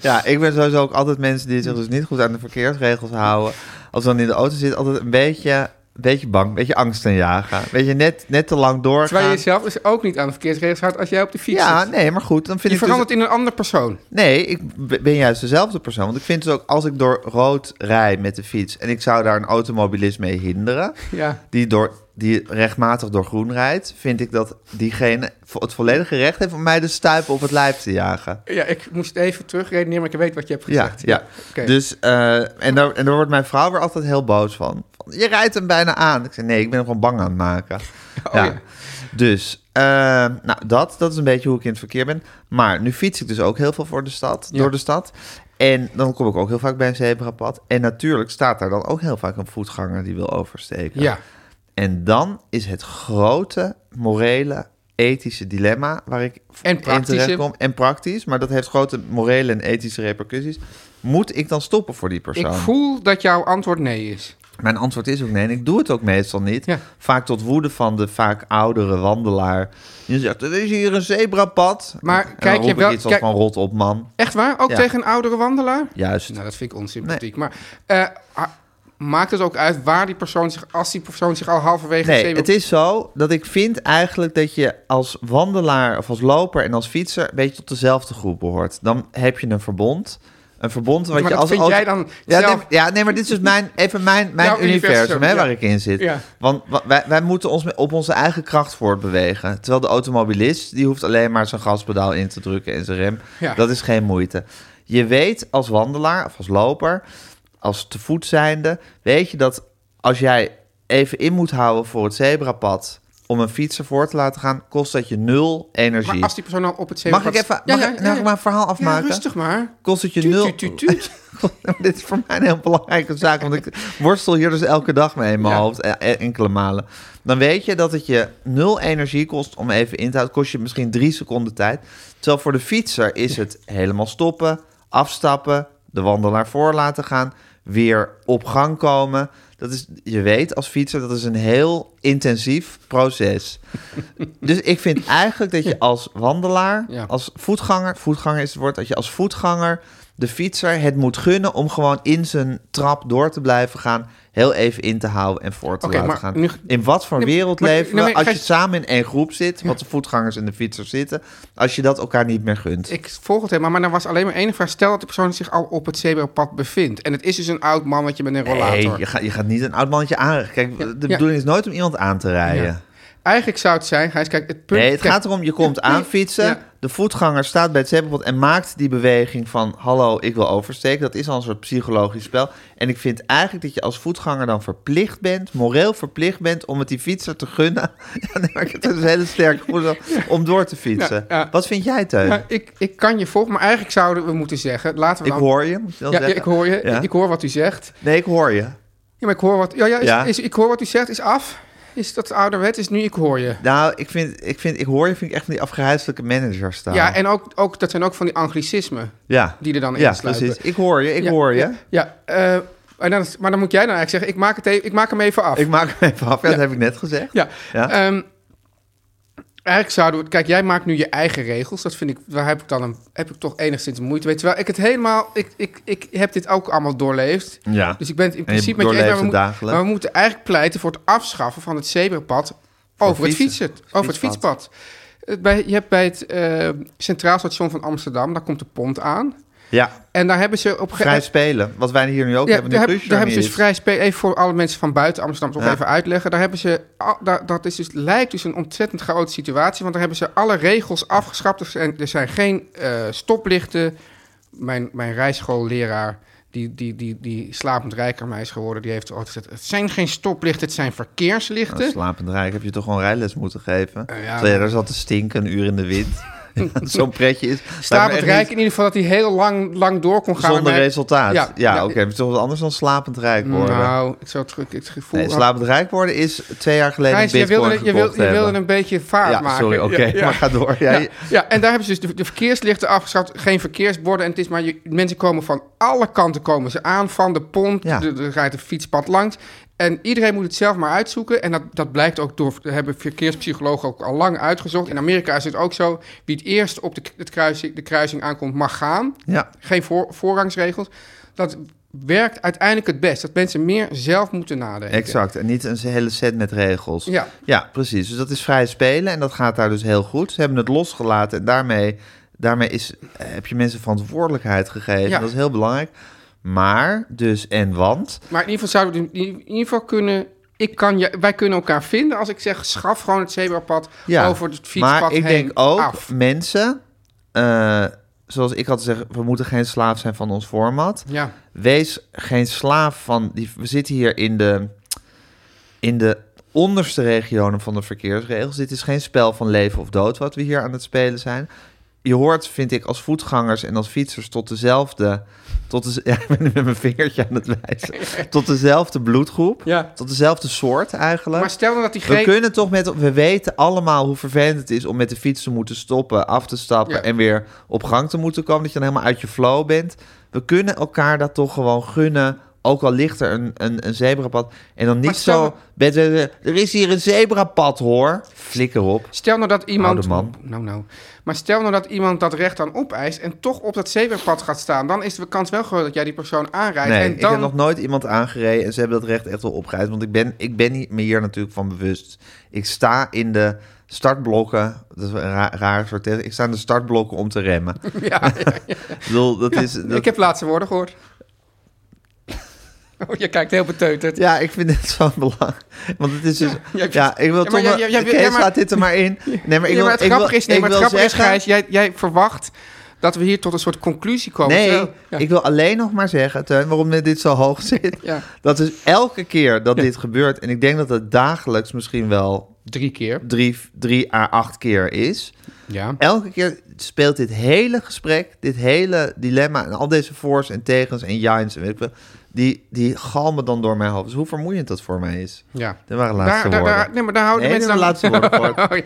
Ja, ik ben sowieso ook altijd mensen die zich dus niet goed aan de verkeersregels houden. Als we dan in de auto zitten, altijd een beetje, een beetje bang, een beetje angst en jagen. Een beetje net, net te lang doorgaan.
[laughs] Terwijl je jezelf dus ook niet aan de verkeersregels houdt als jij op de fiets
Ja,
zit.
nee, maar goed. Dan vind
Je
ik dus
verandert in een ander persoon.
Nee, ik b- ben juist dezelfde persoon. Want ik vind dus ook, als ik door rood rijd met de fiets... en ik zou daar een automobilist mee hinderen...
Ja.
Die, door, die rechtmatig door groen rijdt... vind ik dat diegene vo- het volledige recht heeft... om mij de stuipen op het lijf te jagen.
Ja, ik moest even terugredeneren, maar ik weet wat je hebt
Ja,
gezegd.
ja.
Oké.
Dus, eh, en, daar, en daar wordt mijn vrouw weer altijd heel boos van. Van, Je rijdt hem bijna aan. Ik zei, nee, ik ben hem gewoon bang aan het
[laughs]
maken. ja.
Oh, ja.
Dus, eh, nou, dat, dat is een beetje hoe ik in het verkeer ben. Maar nu fiets ik dus ook heel veel voor de stad,
Ja.
door de stad. En dan kom ik ook heel vaak bij een zebrapad. En natuurlijk staat daar dan ook heel vaak een voetganger die wil oversteken.
Ja.
En dan is het grote morele, ethische dilemma waar ik
En
in
praktische.
terechtkom. En praktisch, maar dat heeft grote morele en ethische repercussies. Moet ik dan stoppen voor die persoon?
Ik voel dat jouw antwoord nee is.
Mijn antwoord is ook nee. En ik doe het ook meestal niet.
Ja.
Vaak tot woede van de vaak oudere wandelaar. Die zegt, er is hier een zebrapad.
Maar
En dan
kijk je
roep ik
wel-
iets als
kijk-
van rot op, man.
Echt waar? Ook
Ja.
tegen een oudere wandelaar?
Juist.
Nou, dat vind ik onsympathiek. Maar eh, ha- maakt het ook uit waar die persoon zich... als die persoon zich al halverwege
Nee,
zeven-
het is zo dat ik vind eigenlijk dat je als wandelaar of als loper en als fietser... een beetje tot dezelfde groep behoort. Dan heb je een verbond. Een verbond wat
Maar
je
dat
als
vind
auto-
jij dan
ja,
zelf-
nee, ja, nee, maar dit is dus mijn, even mijn, mijn
Jouw
universum,
universum,
hè,
ja.
waar ik in zit.
Ja.
Want wa- wij, wij moeten ons met- op onze eigen kracht voortbewegen. Terwijl de automobilist, die hoeft alleen maar zijn gaspedaal in te drukken en zijn rem.
Ja.
Dat is geen moeite. Je weet als wandelaar of als loper, als te voet zijnde, weet je dat als jij even in moet houden voor het zebrapad om een fietser voor te laten gaan, kost dat je nul energie.
Maar als die persoon al op het zeven...
Mag ik even mag ik- mag ik mijn verhaal afmaken?
Ja, rustig maar.
Kost het je
Tuut,
nul...
tuut, tuut, tuut. [laughs]
Dit is voor mij een heel belangrijke zaak, want ik worstel hier dus elke dag mee in mijn
Ja.
hoofd, e- e- enkele malen. Dan weet je dat het je nul energie kost om even in te houden. Kost je misschien drie seconden tijd. Terwijl voor de fietser is het helemaal stoppen, afstappen, de wandelaar voor laten gaan, weer op gang komen. Dat is, je weet als fietser, dat is een heel intensief proces. Dus ik vind eigenlijk dat je als wandelaar,
Ja.
als voetganger, voetganger is het woord, dat je als voetganger de fietser het moet gunnen om gewoon in zijn trap door te blijven gaan, heel even in te houden en voor te
Oké,
laten
maar
gaan.
nu-
in wat voor
Nee,
wereld
maar-
leven we
nee, maar
als
ga
je
je-
samen in één groep zit, wat de voetgangers en de fietsers zitten, als je dat elkaar niet meer gunt?
Ik volg het helemaal, maar dan was alleen maar één vraag. Stel dat de persoon zich al op het zebrapad bevindt. En het is dus een oud mannetje met een rollator.
Nee, je gaat, je gaat niet een oud mannetje aanrijden. Kijk, de
ja.
bedoeling is nooit om iemand aan te rijden.
Ja. Eigenlijk zou het zijn, hij is kijk, het punt...
Nee, het
kijk,
gaat erom, je komt aanfietsen,
Ja.
de voetganger staat bij het zebrapad en maakt die beweging van hallo, ik wil oversteken. Dat is al een soort psychologisch spel. En ik vind eigenlijk dat je als voetganger dan verplicht bent, moreel verplicht bent, om het die fietser te gunnen. [laughs] Ja, nee, maar ik heb dus een hele sterke gevoel
[laughs]
om door te fietsen.
Ja, ja.
Wat vind jij, Teun?
Nou, ik, ik kan je volgen, maar eigenlijk zouden we moeten zeggen... Laten we
ik
dan-
hoor je, moet je wel
nou, Ja, ja,
zeggen.
ik hoor je.
Ja.
Ik hoor wat u zegt.
Nee, ik hoor je.
Ja, maar ik hoor wat, ja, ja, is,
Ja.
Is, ik hoor wat u zegt. Is af. Is dat ouderwet? Is nu ik hoor je.
Nou, ik vind, ik vind, ik hoor je vind ik echt van die afgehuiselijke managers staan.
Ja, en ook, ook, dat zijn ook van die anglicismen
ja.
die er dan
ja,
in sluipen.
precies. Ik hoor je, ik
Ja,
hoor je.
Ja, ja, eh, en dan, is- maar dan moet jij dan eigenlijk zeggen, ik maak, het even, ik maak hem even af.
Ik maak hem even af. Ja, Dat heb ik net gezegd.
ja.
Ja.
Ehm, eigenlijk zouden we... Kijk, jij maakt nu je eigen regels. Dat vind ik... Daar heb ik, dan een, heb ik toch enigszins moeite mee. Terwijl ik het helemaal... Ik, ik, ik heb dit ook allemaal doorleefd.
Ja.
Dus ik ben het in
En je
principe met je eens,
doorleeft
maar we,
het
moet-
dagelijks.
maar we moeten eigenlijk pleiten voor het afschaffen van het zebrapad over het,
fietsen.
fietsen, over het
Fietspad.
fietspad. Eh, Bij, je hebt bij het eh, Centraal Station van Amsterdam, daar komt de pont aan.
Ja,
En daar hebben ze op een
vrij
gegeven
spelen. Wat wij hier nu ook
ja,
hebben.
daar,
nu
heb-
Guusje
daar
er
hebben ze
niet
dus
is.
vrij spe- even voor alle mensen van buiten Amsterdam toch
Ja.
even uitleggen. Daar hebben ze, al- daar, dat is dus, lijkt dus een ontzettend chaotische situatie, want daar hebben ze alle regels afgeschaft. Er zijn, er zijn geen eh, stoplichten. Mijn, mijn rijschoolleraar, die, die, die, die slapend rijk aan mij is geworden, die heeft ooit gezegd, het zijn geen stoplichten, het zijn
Nou,
verkeerslichten.
slapend rijk heb je toch gewoon rijles moeten geven.
Eh, ja,
Terwijl je daar zat te stinken, een uur in de
[laughs]
wind. Ja, [laughs] Zo'n pretje is. lijkt me
Slapend
echt
rijk
niet
in ieder geval dat hij heel lang, lang door kon gaan.
Zonder
Maar-
resultaat. Ja,
Ja.
ja
Ja,
oké. maar Het is toch wat anders dan slapend rijk worden.
Nou, ik zou het, ik- het gevoel...
nee, slapend rijk worden is twee jaar geleden
Gijs, je
bitcoin
wilde, je, wilde,
gekocht
je wilde
hebben.
een beetje vaart
Ja,
maken.
sorry, oké. [laughs] Maar ga door. Ja,
Ja, ja, en daar hebben ze dus de, de verkeerslichten afgeschaft. Geen verkeersborden. En het is maar, je, mensen komen van alle kanten komen ze aan. Van de pont,
Ja.
er er rijdt een fietspad langs. En iedereen moet het zelf maar uitzoeken. En dat, dat blijkt ook door, dat hebben verkeerspsychologen ook al lang uitgezocht. In Amerika is het ook zo. Wie het eerst op de, het kruising, de kruising aankomt, mag gaan.
ja.
Geen voor, voorrangsregels. Dat werkt uiteindelijk het best. Dat mensen meer zelf moeten nadenken.
Exact, en niet een hele set met regels.
Ja.
precies. Dus dat is vrij spelen en dat gaat daar dus heel goed. Ze hebben het losgelaten en daarmee, daarmee is, eh, heb je mensen verantwoordelijkheid gegeven.
Ja.
Dat is heel belangrijk. Maar, dus en want.
Maar in ieder geval zouden we in in ieder geval kunnen. Ik kan je, wij kunnen elkaar vinden als ik zeg: schaf gewoon het zebrapad
Ja,
over het fietspad
Maar ik
heen
denk ook,
af.
mensen, eh, zoals ik had gezegd, we moeten geen slaaf zijn van ons format.
Ja,
Wees geen slaaf van. Die, we zitten hier in de, in de onderste regionen van de verkeersregels. Dit is geen spel van leven of dood wat we hier aan het spelen zijn. Je hoort, vind ik, als voetgangers en als fietsers tot dezelfde. Tot de, [laughs] ja, ik ben nu met mijn vingertje aan het
[laughs]
wijzen. Tot dezelfde bloedgroep.
Ja.
Tot dezelfde soort eigenlijk.
maar stel nou dat die
We
greep.
kunnen toch met... We weten allemaal hoe vervelend het is om met de fiets te moeten stoppen, af te stappen
Ja.
en weer op gang te moeten komen. Dat je dan helemaal uit je flow bent. We kunnen elkaar dat toch gewoon gunnen. Ook al ligt er een, een, een zebrapad. En dan niet
stel-
zo... met- eh, Er is hier een zebrapad hoor. Flikker op.
Stel nou dat iemand.
Oude man.
Nou, nou. Maar stel nou dat iemand dat recht dan opeist en toch op dat zebrapad gaat staan. Dan is de kans wel groot dat jij die persoon aanrijdt.
Nee,
en
ik
dan,
heb nog nooit iemand aangereden en ze hebben dat recht echt wel opgeëist. Want ik ben, ik ben hier- me hier natuurlijk van bewust. Ik sta in de startblokken, dat is een ra- raar soort test. Ik sta in de startblokken om te remmen.
[laughs] ja, ja, ja.
Ik bedoel, dat is, dat-
Ik heb laatste woorden gehoord. [laughs] Oh, je kijkt heel beteuterd.
Ja, ik vind het zo belangrijk. Want het is dus... Ja,
jij-
ik wil
Ja, maar
toch
jij-
maar...
jij- jij-
Kees,
ja, maar-
laat dit er maar in. Nee, maar
[laughs] ja,
ik wil...
maar het
ik wil-
grappige is, nee,
ik
maar het
wil
grappige is,
zeggen-
Gijs, jij, jij verwacht dat we hier tot een soort conclusie komen.
Nee,
Terwijl- ja.
ik wil alleen nog maar zeggen, Teun, waarom dit zo hoog zit.
Ja.
Dat is elke keer dat dit gebeurt... en ik denk dat het dagelijks misschien wel
Drie keer.
drie, drie à acht keer is...
Ja.
Elke keer speelt dit hele gesprek, dit hele dilemma en al deze voor's en tegens en ja's en weet ik veel, die, die galmen dan door mijn hoofd. Dus hoe vermoeiend dat voor mij is.
Ja.
Dat waren de
Daar,
laatste
daar,
woorden.
daar, nee, maar daar houden
Nee,
mensen
dit
dan...
zijn de laatste woorden,
[laughs]
Cor.
Oh,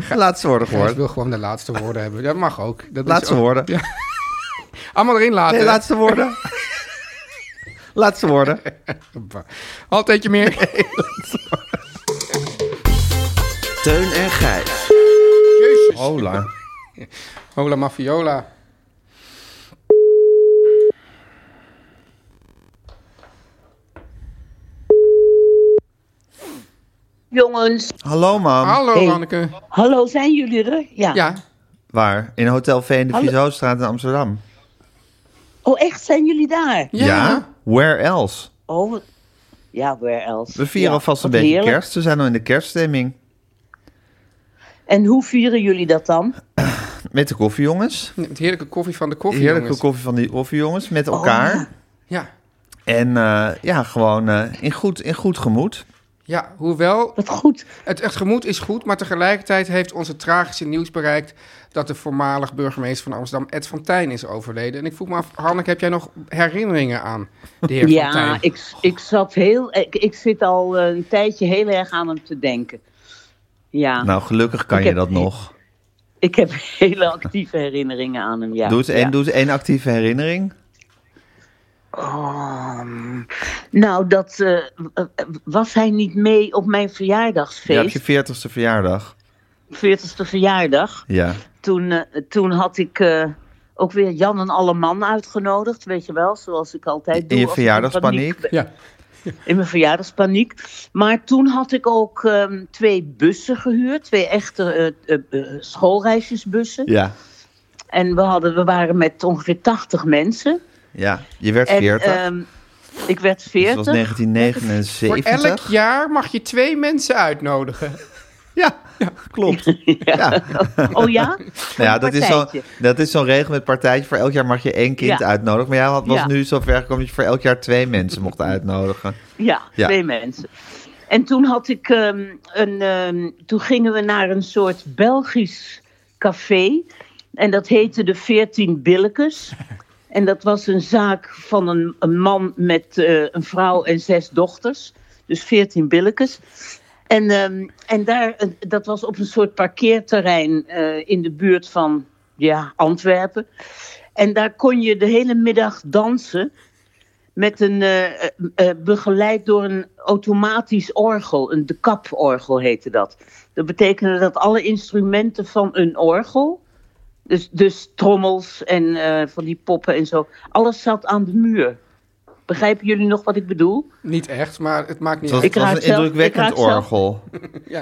ja.
De laatste woorden
Ja, ik
gehoord.
wil gewoon de laatste woorden hebben. Dat mag ook. Dat is
Laatste
ook-
woorden.
Ja. [laughs] Allemaal erin laten.
Nee,
hè?
laatste woorden. laatste woorden.
Altijd je meer.
Teun en Gijs.
[laughs] Jezus.
Hola.
Hola mafiola.
Jongens,
Hallo, mam.
Hallo,
Hey.
Anneke.
hallo, zijn jullie er? Ja.
Ja.
Waar? In Hotel V in de
Hallo.
Vizostraat in Amsterdam.
Oh, echt, zijn jullie daar?
Ja.
Where else?
Oh, wat- ja, where else?
We vieren
Ja,
alvast een
wat
beetje
heerlijk.
kerst. We zijn al in de kerststemming.
En hoe vieren jullie dat dan?
Met de koffiejongens.
Met heerlijke koffie van de koffie.
Heerlijke
jongens.
koffie van die koffiejongens.
Oh,
Met elkaar.
Ja.
En eh, ja, gewoon eh, in, goed, in goed gemoed.
ja, hoewel
Wat goed.
het, het gemoed is goed, maar tegelijkertijd heeft onze tragische nieuws bereikt dat de voormalig burgemeester van Amsterdam, Ed van Tijn, is overleden. En ik vroeg me af, Hanneke, heb jij nog herinneringen aan de heer
Ja,
van Tijn?
ik, ik zat heel. Ik, ik zit al eh, een tijdje heel erg aan hem te denken. Ja,
Nou, gelukkig kan
Ik
je
heb-
dat nog.
ik heb [laughs] hele actieve herinneringen aan hem. Ja.
doe, eens één,
ja.
doe eens één actieve herinnering.
Oh, nou, dat eh, was hij niet mee op mijn
Je hebt je
verjaardagsfeest,
veertigste verjaardag.
40ste verjaardag.
Ja.
Toen, eh, toen had ik eh, ook weer Jan en Alleman uitgenodigd, weet je wel, zoals ik altijd
In
doe.
je
als ik in
verjaardagspaniek?
paniek ben.
Ja.
in mijn verjaardagspaniek. Maar toen had ik ook ehm, twee bussen gehuurd, twee echte eh, eh, eh, schoolreisjesbussen.
Ja.
En we, hadden, we waren met ongeveer 80 mensen.
Ja. Je werd
En,
veertig.
ehm, ik werd
dus
40.
dat was
Voor
1979.
elk jaar mag je twee mensen uitnodigen. [laughs]
Ja, klopt. [laughs] Ja.
Oh ja?
[laughs]
Voor
Nou ja,
een
dat is, zo,
partijtje.
dat is zo'n regel met partijtje. Voor elk jaar mag je één kind
Ja.
uitnodigen. Maar jij had, was
Ja.
nu zover gekomen dat je voor elk jaar twee mensen mocht uitnodigen.
Ja,
Ja.
twee mensen. En toen had ik ehm, een. ehm, toen gingen we naar een soort Belgisch café. En dat heette de 14 Billekes. En dat was een zaak van een, een man met eh, een vrouw en zes dochters. Dus 14 Billekes. En, ehm, en daar, eh, dat was op een soort parkeerterrein eh, in de buurt van ja, Antwerpen. En daar kon je de hele middag dansen met een, eh, eh, eh, begeleid door een automatisch orgel. Een de kaporgel heette dat. Dat betekende dat alle instrumenten van een orgel, dus, dus trommels en eh, van die poppen en zo, alles zat aan de muur. Begrijpen jullie nog wat ik bedoel?
Niet echt, maar het maakt niet
Het was,
uit.
Ik
het was
raak
een
zelf-
indrukwekkend
ik raak zelf-
orgel.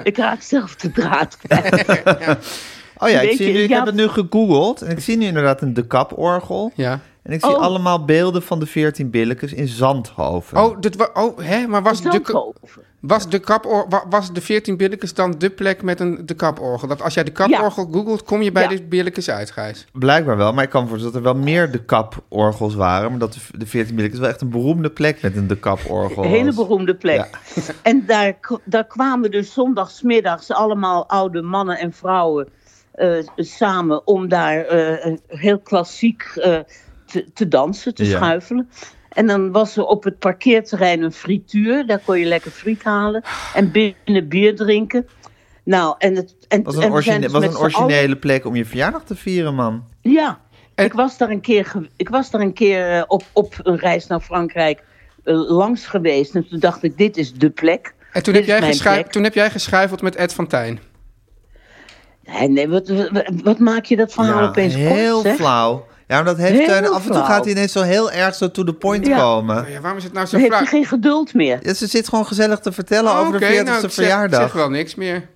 Ik raak zelf de draad kwijt.
Oh ja, ik,
Weet
zie
je,
nu, ik
ja.
heb het nu gegoogeld. En ik zie nu inderdaad een De Kap-orgel.
Ja.
En ik zie
Oh.
allemaal beelden van de 14 billetjes in Zandhoven.
Oh, dit wa- oh hè, maar was de,
Zandhoven.
was, de kap was de 14 Billikens dan de plek met een, de kaporgel? Dat als jij de kaporgel googelt, kom je bij
Ja.
de Billikens uit, Gijs.
Blijkbaar wel, maar ik kan me voorstellen dat er wel meer De Kap-orgels waren. Maar dat de, de 14 billetjes wel echt een beroemde plek met een De Kap-orgel
Een hele
was.
beroemde plek. [laughs] En daar, k- daar kwamen dus zondagsmiddags allemaal oude mannen en vrouwen eh, samen om daar eh, een heel klassiek eh, te, te dansen, te
Ja.
schuifelen. En dan was er op het parkeerterrein een frituur, daar kon je lekker friet halen en binnen bier drinken. Nou, en het en,
was
en
een,
we zijn
origine,
dus
was
met
een
z'n allen-
originele plek om je verjaardag te vieren, man.
ja, ik was daar een keer, ge- ik was daar een keer eh, op, op een reis naar Frankrijk eh, langs geweest. En toen dacht ik, dit is de plek.
En toen
Dit
heb,
is
jij
mijn
geschui-
plek.
toen heb jij geschuifeld met Ed van Tijn.
Nee, nee, wat, wat, wat maak je dat verhaal opeens kort,
heel
zeg?
flauw. Ja, maar dat heeft
Heel
Teun- Af en toe
flauw.
gaat hij ineens zo heel erg zo to the point
Ja.
komen.
Ja, waarom is het nou zo
Dan heb je
vraag?
geen geduld meer.
Ja, ze zit gewoon gezellig te vertellen over de 40ste
nou, ik zeg,
verjaardag.
zeg wel niks meer.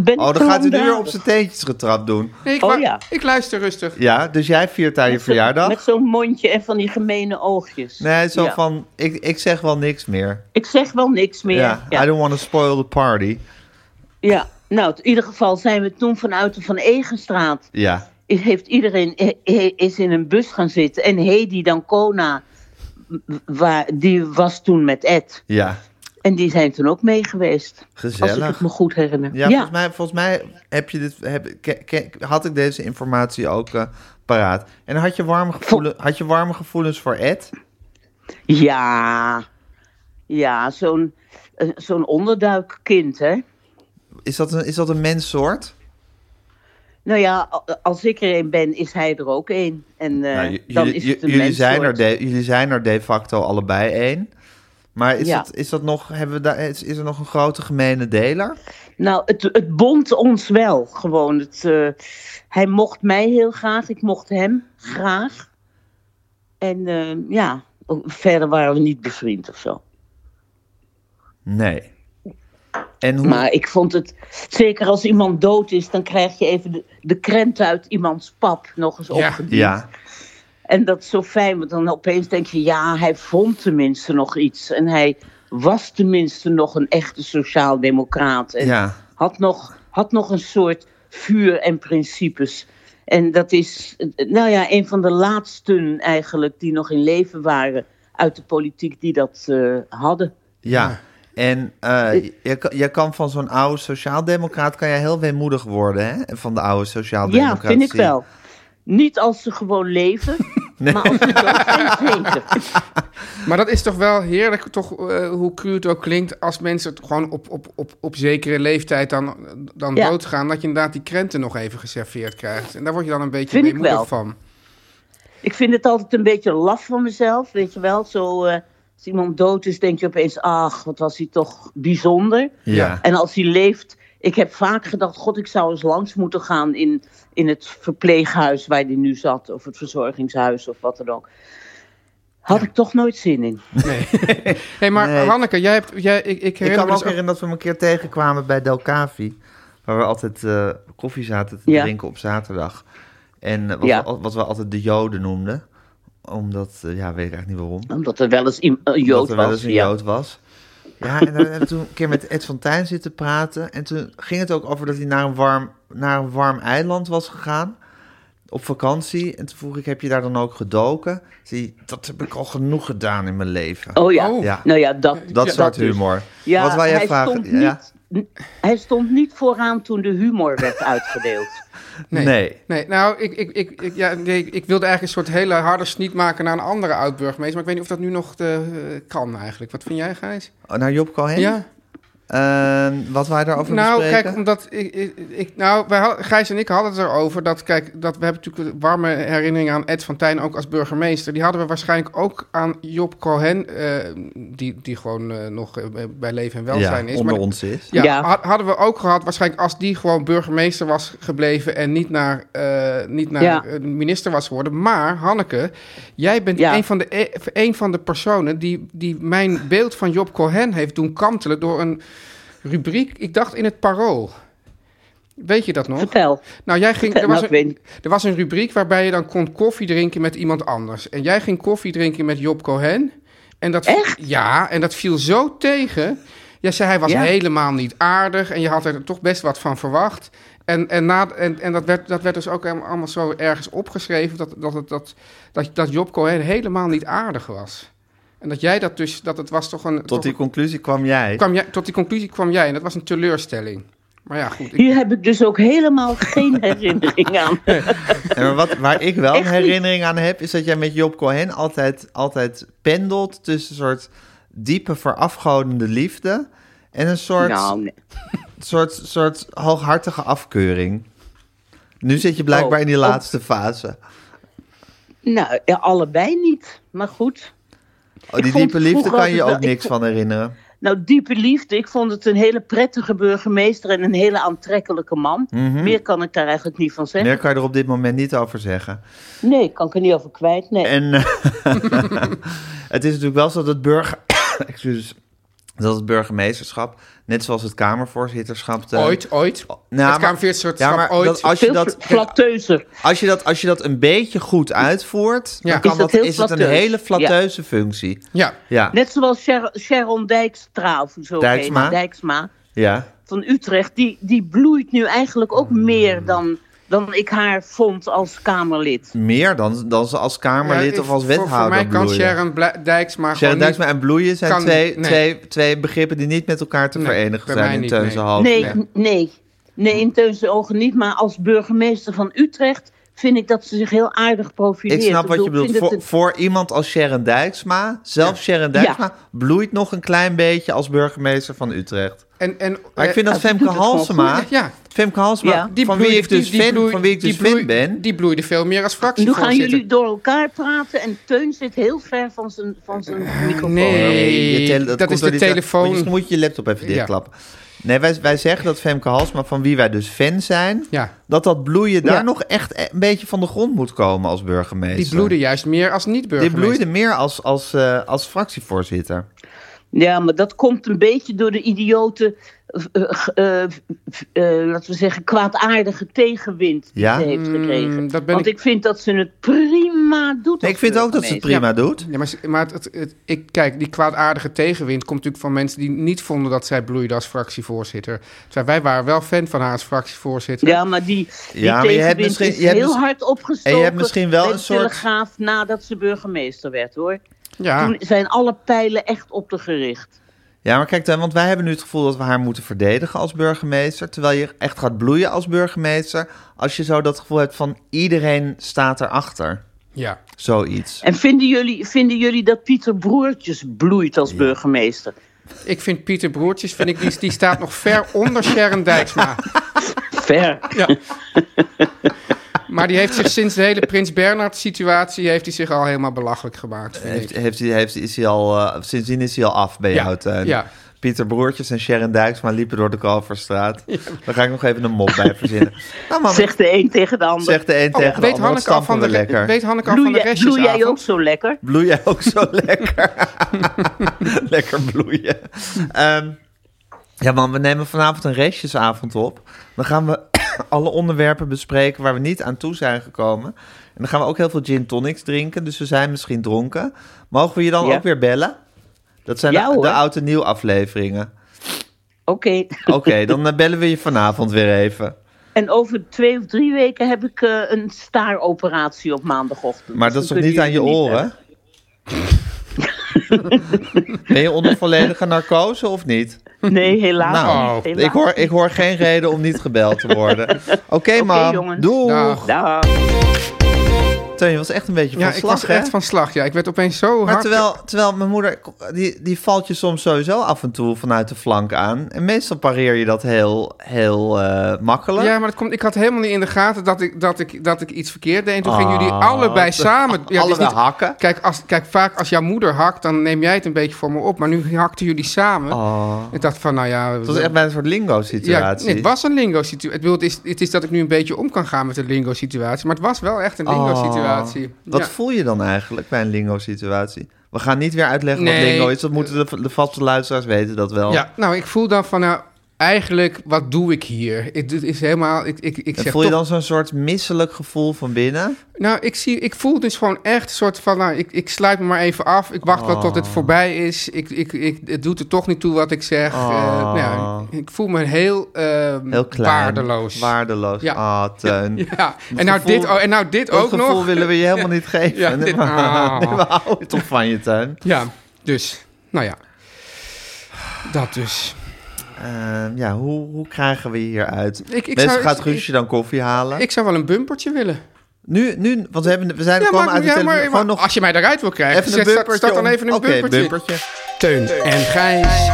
Ben
Oh, dan gaat hij nu weer
weer
op zijn [laughs] teentjes getrapt doen.
Nee, ik,
Oh,
lu-
ja.
ik luister rustig.
Ja, dus jij viert daar je verjaardag.
Met zo'n mondje en van die gemene oogjes.
Nee, zo
Ja.
van, ik, ik zeg wel niks meer.
Ik zeg wel niks meer.
Ja,
Ja, ja.
I don't want to spoil the party.
nou, in ieder geval zijn we toen vanuit de Van Egenstraat...
Ja,
is- heeft iedereen he- he- is in een bus gaan zitten. En Hedy Dancona, w- waar, die was toen met Ed.
ja,
En die zijn toen ook mee geweest. Als ik
gezellig.
het me goed herinner.
Ja, Volgens, mij, volgens mij heb je dit, heb, ke- ke- had ik deze informatie ook eh, paraat. En had je, warme gevoelen, had je warme gevoelens voor Ed?
ja. Ja, zo'n eh, zo'n onderduikkind, hè.
Is dat een, is dat een menssoort?
Nou ja, a- als ik er een ben, is hij er ook een. En eh,
Nou, j-
dan
jullie-
is
j-
het een
jullie, zijn er
menssoort.
de, jullie zijn er de facto allebei één. Maar is,
Ja.
dat, is, dat nog, hebben we daar, is, is er nog een grote gemene deler?
Nou, het, het bond ons wel gewoon. Het, eh, hij mocht mij heel graag, ik mocht hem graag. En eh, ja, ook verder waren we niet bevriend of zo.
Nee. En hoe,
Maar ik vond het, zeker als iemand dood is, dan krijg je even de, de krent uit iemands pap nog eens
Ja.
opgediend.
ja,
En dat is zo fijn, want dan opeens denk je, ja, hij vond tenminste nog iets. En hij was tenminste nog een echte sociaaldemocraat. En
ja.
had nog, had nog een soort vuur en principes. En dat is, eh, nou ja, een van de laatsten eigenlijk die nog in leven waren uit de politiek die dat eh, hadden.
Ja. En eh, je, kan- je kan van zo'n oude sociaaldemocraat kan je heel weemoedig worden, hè? Van de oude
Ja,
sociaaldemocratie.
vind ik wel. Niet als ze gewoon leven, maar als ze dood zijn zeker.
Maar dat is toch wel heerlijk, toch, eh, hoe cru het ook klinkt, als mensen het gewoon op, op, op, op zekere leeftijd dan, dan
Ja.
doodgaan, dat je inderdaad die krenten nog even geserveerd krijgt. En daar word je dan een beetje
Vind ik
weemoedig
wel.
van.
Ik vind het altijd een beetje laf van mezelf, weet je wel. Zo, eh, als iemand dood is, denk je opeens, ach, wat was hij toch bijzonder.
Ja.
En als hij leeft, ik heb vaak gedacht, god, ik zou eens langs moeten gaan in, in het verpleeghuis waar hij nu zat. Of het verzorgingshuis of wat dan ook. Had ik toch nooit zin in.
hey, maar
Nee.
Hanneke, jij hebt, jij, ik, ik
Ik
herinner
kan
me
me ook
dus ook-
herinneren dat we hem een keer tegenkwamen bij Delcavi. Waar we altijd eh, koffie zaten te
Ja.
drinken op zaterdag. En eh, wat,
Ja.
we, al- wat we altijd de Joden noemden. Omdat, eh, ja, weet ik eigenlijk niet waarom.
Omdat er wel eens iem- een
Omdat
jood
er wel
was.
eens een
ja.
Jood was. Ja, en daar hebben we toen een keer met Ed van Tijn zitten praten. En toen ging het ook over dat hij naar een warm, naar een warm eiland was gegaan. Op vakantie. En toen vroeg ik, heb je daar dan ook gedoken? Zie, dat heb ik al genoeg gedaan in mijn leven.
Oh ja.
Oh.
Ja.
nou ja, dat,
dat soort
dus.
humor.
Ja,
Wat wil jij
hij
vragen?
Stond
Ja?
niet, hij stond niet vooraan toen de humor
[laughs]
werd uitgedeeld.
Nee.
Nee.
Nee, nou, ik, ik, ik, ik, ja, nee, ik- ik wilde eigenlijk een soort hele harde sniet maken naar een andere oud-burgemeester. Maar ik weet niet of dat nu nog eh, kan eigenlijk. Wat vind jij, Gijs?
Oh, Naar Job Cohen?
Ja.
Eh, wat wij daarover
Nou,
bespreken?
kijk, omdat ik, ik, ik- nou, wij, had- Gijs en ik hadden het erover dat, kijk, dat we hebben natuurlijk een warme herinnering aan Ed van Tijn, ook als burgemeester. Die hadden we waarschijnlijk ook aan Job Cohen, eh, die, die gewoon eh, nog eh, bij leven en welzijn
ja,
is.
onder
maar-
ons is.
Ja,
Ja.
ha- hadden we ook gehad, waarschijnlijk als die gewoon burgemeester was gebleven en niet naar, eh, niet naar
Ja.
eh, minister was geworden. Maar Hanneke, jij bent
Ja.
een, van de, e- een van de personen die, die mijn beeld van Job Cohen heeft doen kantelen door een rubriek, ik dacht in het parool. Weet je dat nog?
Vertel.
Nou, jij ging, er,
Vertel,
was
nou, ik
een, er was een rubriek waarbij je dan kon koffie drinken met iemand anders. En jij ging koffie drinken met Job Cohen. En dat,
Echt?
Ja, en dat viel zo tegen. Jij zei, hij was
Ja.
helemaal niet aardig en je had er toch best wat van verwacht. En, en, na, en, en dat, werd, dat werd dus ook allemaal zo ergens opgeschreven dat, dat, het- dat, dat, dat Job Cohen helemaal niet aardig was. En dat jij dat dus, dat het was toch een... toch
Tot die conclusie kwam jij.
kwam jij, tot die conclusie kwam jij en dat was een teleurstelling. Maar ja, goed. ik-
Hier heb ik dus ook helemaal
[laughs]
geen herinnering aan.
Ja, maar wat, waar ik wel een
Echt niet.
herinnering aan heb, is dat jij met Job Cohen altijd, altijd pendelt tussen een soort diepe verafgodende liefde en een soort,
Nou, nee.
soort, soort hooghartige afkeuring. Nu zit je blijkbaar
Oh,
in die
oh.
laatste fase.
nou ja, allebei niet. Maar goed.
Oh, die
vond
diepe liefde
vroeger
kan
altijd
je
wel-
ook
ik
niks van herinneren.
Nou, diepe liefde. Ik vond het een hele prettige burgemeester en een hele aantrekkelijke man.
Mhm.
Meer kan ik daar eigenlijk niet van zeggen.
Meer kan je er op dit moment niet over zeggen.
Nee, kan ik er niet over kwijt. Nee.
En eh, [laughs] het is natuurlijk wel zo dat, burger, [coughs] excuses, dat het burgemeesterschap, net zoals het Kamervoorzitterschap... eh,
Ooit, ooit.
maar-
het Kamervoorzitter
Ja, maar
ooit.
dat- als je
Veel
dat,
fl- flatteuzer.
Als je, dat, als je dat een beetje goed uitvoert,
Ja.
dan kan
Is dat
dat,
heel
is het een
flatteus?
hele flatteuze functie.
Ja,
Ja,
Net zoals Sher- Sharon Dijkstra of zo.
Dijksma?
heet, Nou, Dijksma
ja.
van Utrecht. Die, die bloeit nu eigenlijk ook
Mm.
meer dan, dan ik haar vond als Kamerlid.
meer dan, dan ze als Kamerlid
Ja,
of als
voor-
wethouder
Voor mij kan
bloeien.
Sharon Bla- Dijksma
Sharon
gewoon
Dijksma nou en bloeien zijn
kan
twee,
niet, nee.
twee, twee begrippen die niet met elkaar te
Nee,
verenigen
bij
zijn
mij
in
niet,
Teun
nee.
zijn hoofd.
Nee,
Ja.
n- nee. Nee, in Teunse ogen niet. Maar als burgemeester van Utrecht vind ik dat ze zich heel aardig profileert.
Ik snap wat je
bedoel, ik
bedoelt.
vind
Voor,
het
voor iemand als Sharon Dijksma, zelfs Sharon Dijksma, bloeit nog een klein beetje als burgemeester van Utrecht.
En, en,
Maar ik vind dat
die
Femke
doet het gewoon
Halsema,
goed. Ja.
Femke Halsema,
Ja.
die
van,
bloeide-
wie ik
die-
dus
die
fan,
bloei-
van wie ik
die
dus fan
bloei-
ben.
Die bloeide veel meer als
Nu
fractievoorzitter.
gaan jullie door elkaar praten en Teun zit heel ver van zijn, van zijn microfoon.
Nee,
Oh, Je tele-
dat,
komt
is
door
de
die-
telefoon.
Misschien moet je je laptop even
Ja.
dichtklappen. Nee, wij, wij zeggen dat Femke Halsma, van wie wij dus fan zijn...
Ja.
dat dat bloeien
Ja.
daar nog echt e- een beetje van de grond moet komen als burgemeester.
Die bloeide juist meer als
Die
niet-burgemeester.
bloeide meer als, als, eh, als fractievoorzitter.
Ja, maar dat komt een beetje door de idiote, eh, eh, eh, eh, laten we zeggen, kwaadaardige tegenwind die
Ja?
ze heeft gekregen.
Mm, dat ben
Want
ik-
ik vind dat ze het prima prima doet.
Nee, ik vind ook dat ze het prima doet.
Ja, maar, ze- maar het, het- het- ik, kijk, die kwaadaardige tegenwind komt natuurlijk van mensen die niet vonden dat zij bloeide als fractievoorzitter. Terwijl wij waren wel fan van haar als fractievoorzitter.
Ja, maar die, die
Ja, maar je hebt
tegenwind
misschien-
is
je hebt
heel
misschien-
hard opgestoken.
en je hebt misschien wel
bij
een
de
soort-
Telegraaf nadat ze burgemeester werd, hoor.
Ah.
Ja.
Toen zijn alle pijlen echt op de gericht.
Ja, maar kijk dan, want wij hebben nu het gevoel dat we haar moeten verdedigen als burgemeester. Terwijl je echt gaat bloeien als burgemeester. Als je zo dat gevoel hebt van iedereen staat erachter.
ja.
Zoiets.
En vinden jullie, vinden jullie dat Pieter Broertjes bloeit als burgemeester?
Ik vind Pieter Broertjes, vind ik, die, die staat nog ver onder Sharon Dijksma.
Ver. [laughs]
Ja. [laughs] Maar die heeft zich sinds de hele Prins Bernhard situatie heeft hij zich al helemaal belachelijk gemaakt. vind ik.
Heeft, heeft, hij- heeft, is hij al, eh, sindsdien is hij al af bij
Ja,
jou, Teun.
ja.
Pieter Broertjes en Sharon Dijksma liepen door de Kalverstraat. Daar ga ik nog even een mop bij verzinnen. Nou, mama,
Zegt de een tegen de ander.
zegt de een
Oh,
tegen de
weet
ander, wat
Hanneke al van de,
stampen we lekker.
weet Hanneke al
bloei,
van de
jij- bloei jij ook
restjesavond?
zo lekker?
Bloeien ook zo [laughs] lekker. lekker bloeien. Ehm, ja man, we nemen vanavond een restjesavond op. Dan gaan we [coughs] alle onderwerpen bespreken waar we niet aan toe zijn gekomen. En dan gaan we ook heel veel gin tonics drinken. Dus we zijn misschien dronken. Mogen we je dan
Ja.
ook weer bellen? Dat zijn
Ja,
de, de
hoor.
oud en nieuw afleveringen.
Oké.
Oké,
[laughs]
dan eh, bellen we je vanavond weer even.
En over twee of drie weken heb ik eh, een staaroperatie op maandagochtend.
Maar dat
Dus
is
dan
nog niet aan
kunnen
je
jullie
oren? [laughs] ben je onder volledige narcose of niet?
hebben. Nee, helaas
Nou,
niet. Helaas.
Ik hoor, ik hoor geen reden om niet gebeld te worden. Oké, man.
jongens.
Doeg.
Dag.
Dag.
Teun, je was echt een beetje
Ja,
van
ik
slag,
was
hè?
echt van slag. Ja, ik werd opeens zo
Maar
hard...
terwijl, terwijl mijn moeder, die, die valt je soms sowieso af en toe vanuit de flank aan. En meestal pareer je dat heel, heel eh, makkelijk.
Ja, maar dat komt, ik had helemaal niet in de gaten dat ik, dat ik, dat ik iets verkeerd deed. En toen gingen jullie
Ah,
allebei samen... Ja, het is
Allebei
niet-
hakken.
Kijk, als, kijk, vaak als jouw moeder hakt, dan neem jij het een beetje voor me op. Maar nu hakten jullie samen.
Oh.
Ik dacht van, nou ja...
Het was echt bij een soort
ja,
lingo-situatie.
nee, het was een lingo-situatie. Ik bedoel, Het is, het is dat ik nu een beetje om kan gaan met een lingo-situatie. Maar het was wel echt een lingo-situatie.
Oh. Wat
Ja.
voel je dan eigenlijk bij een lingo-situatie? We gaan niet weer uitleggen wat
Nee.
lingo is. Dat moeten de, de vaste luisteraars weten dat wel.
Ja, nou, ik voel dan van, nou, eigenlijk, wat doe ik hier? Ik, dit is helemaal, ik, ik, ik
En
zeg
voel je
toch-
dan zo'n soort misselijk gevoel van binnen?
Nou, ik, zie, ik voel dus gewoon echt een soort van, nou, ik, ik sluit me maar even af. Ik wacht wel tot
Oh.
het voorbij is. Ik, ik, ik, het doet er toch niet toe wat ik zeg. Eh,
Oh.
nou ja, ik voel me heel, ehm,
Heel klein.
waardeloos.
Waardeloos.
Ja.
Ah, Teun.
ja, en nou,
gevoel-
dit, oh, en nou dit
[laughs] Dat
ook
gevoel
nog.
willen we je helemaal niet geven.
[laughs] Ja, dit-
nee, maar, [laughs]
ah.
nee, we houden toch van je, Teun.
Ja, dus, nou ja. Dat dus.
Ehm, ja, hoe, hoe krijgen we je hier uit?
Ik- ik
Mensen
zou-
gaat
ik-
Guusje dan koffie halen.
Ik zou wel een bumpertje willen.
nu, nu, want we, hebben, we zijn
Ja,
komen
maar,
uit de
ja,
televisie.
maar,
Gewoon nog
als je mij eruit wil krijgen,
even een
zet-
bumpertje.
start dan
om-
even een
Oké,
bumpertje. Teun en Gijs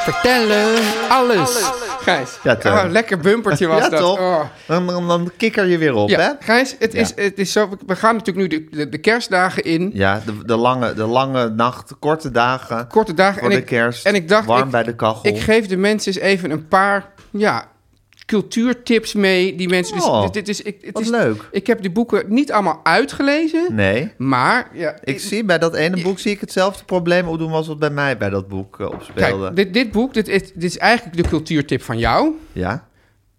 vertellen alles. Gijs,
Ja, Teun.
oh, lekker
[laughs]
bumpertje was
Ja,
dat.
toch?
Oh.
Dan, dan, dan kikker je weer op, hè?
Ja, Gijs, het,
Ja.
is, het is zo, we gaan natuurlijk nu de, de, de kerstdagen in.
Ja, de, de, lange, de lange nacht, de korte dagen.
Korte dagen.
Voor
en
de
ik,
kerst,
En ik dacht,
warm
ik,
bij de kachel.
Ik geef de mensen eens even een paar ja, cultuurtips mee. Die mensen, dus,
Oh,
dit, dit is, ik, het
wat
is,
leuk.
Ik heb die boeken niet allemaal uitgelezen.
Nee.
Maar ja,
Ik zie bij dat ene boek zie ik hetzelfde probleem opdoen als wat bij mij bij dat boek eh, opspeelde.
kijk, dit, dit boek, dit is, dit is eigenlijk de cultuurtip van jou.
Ja?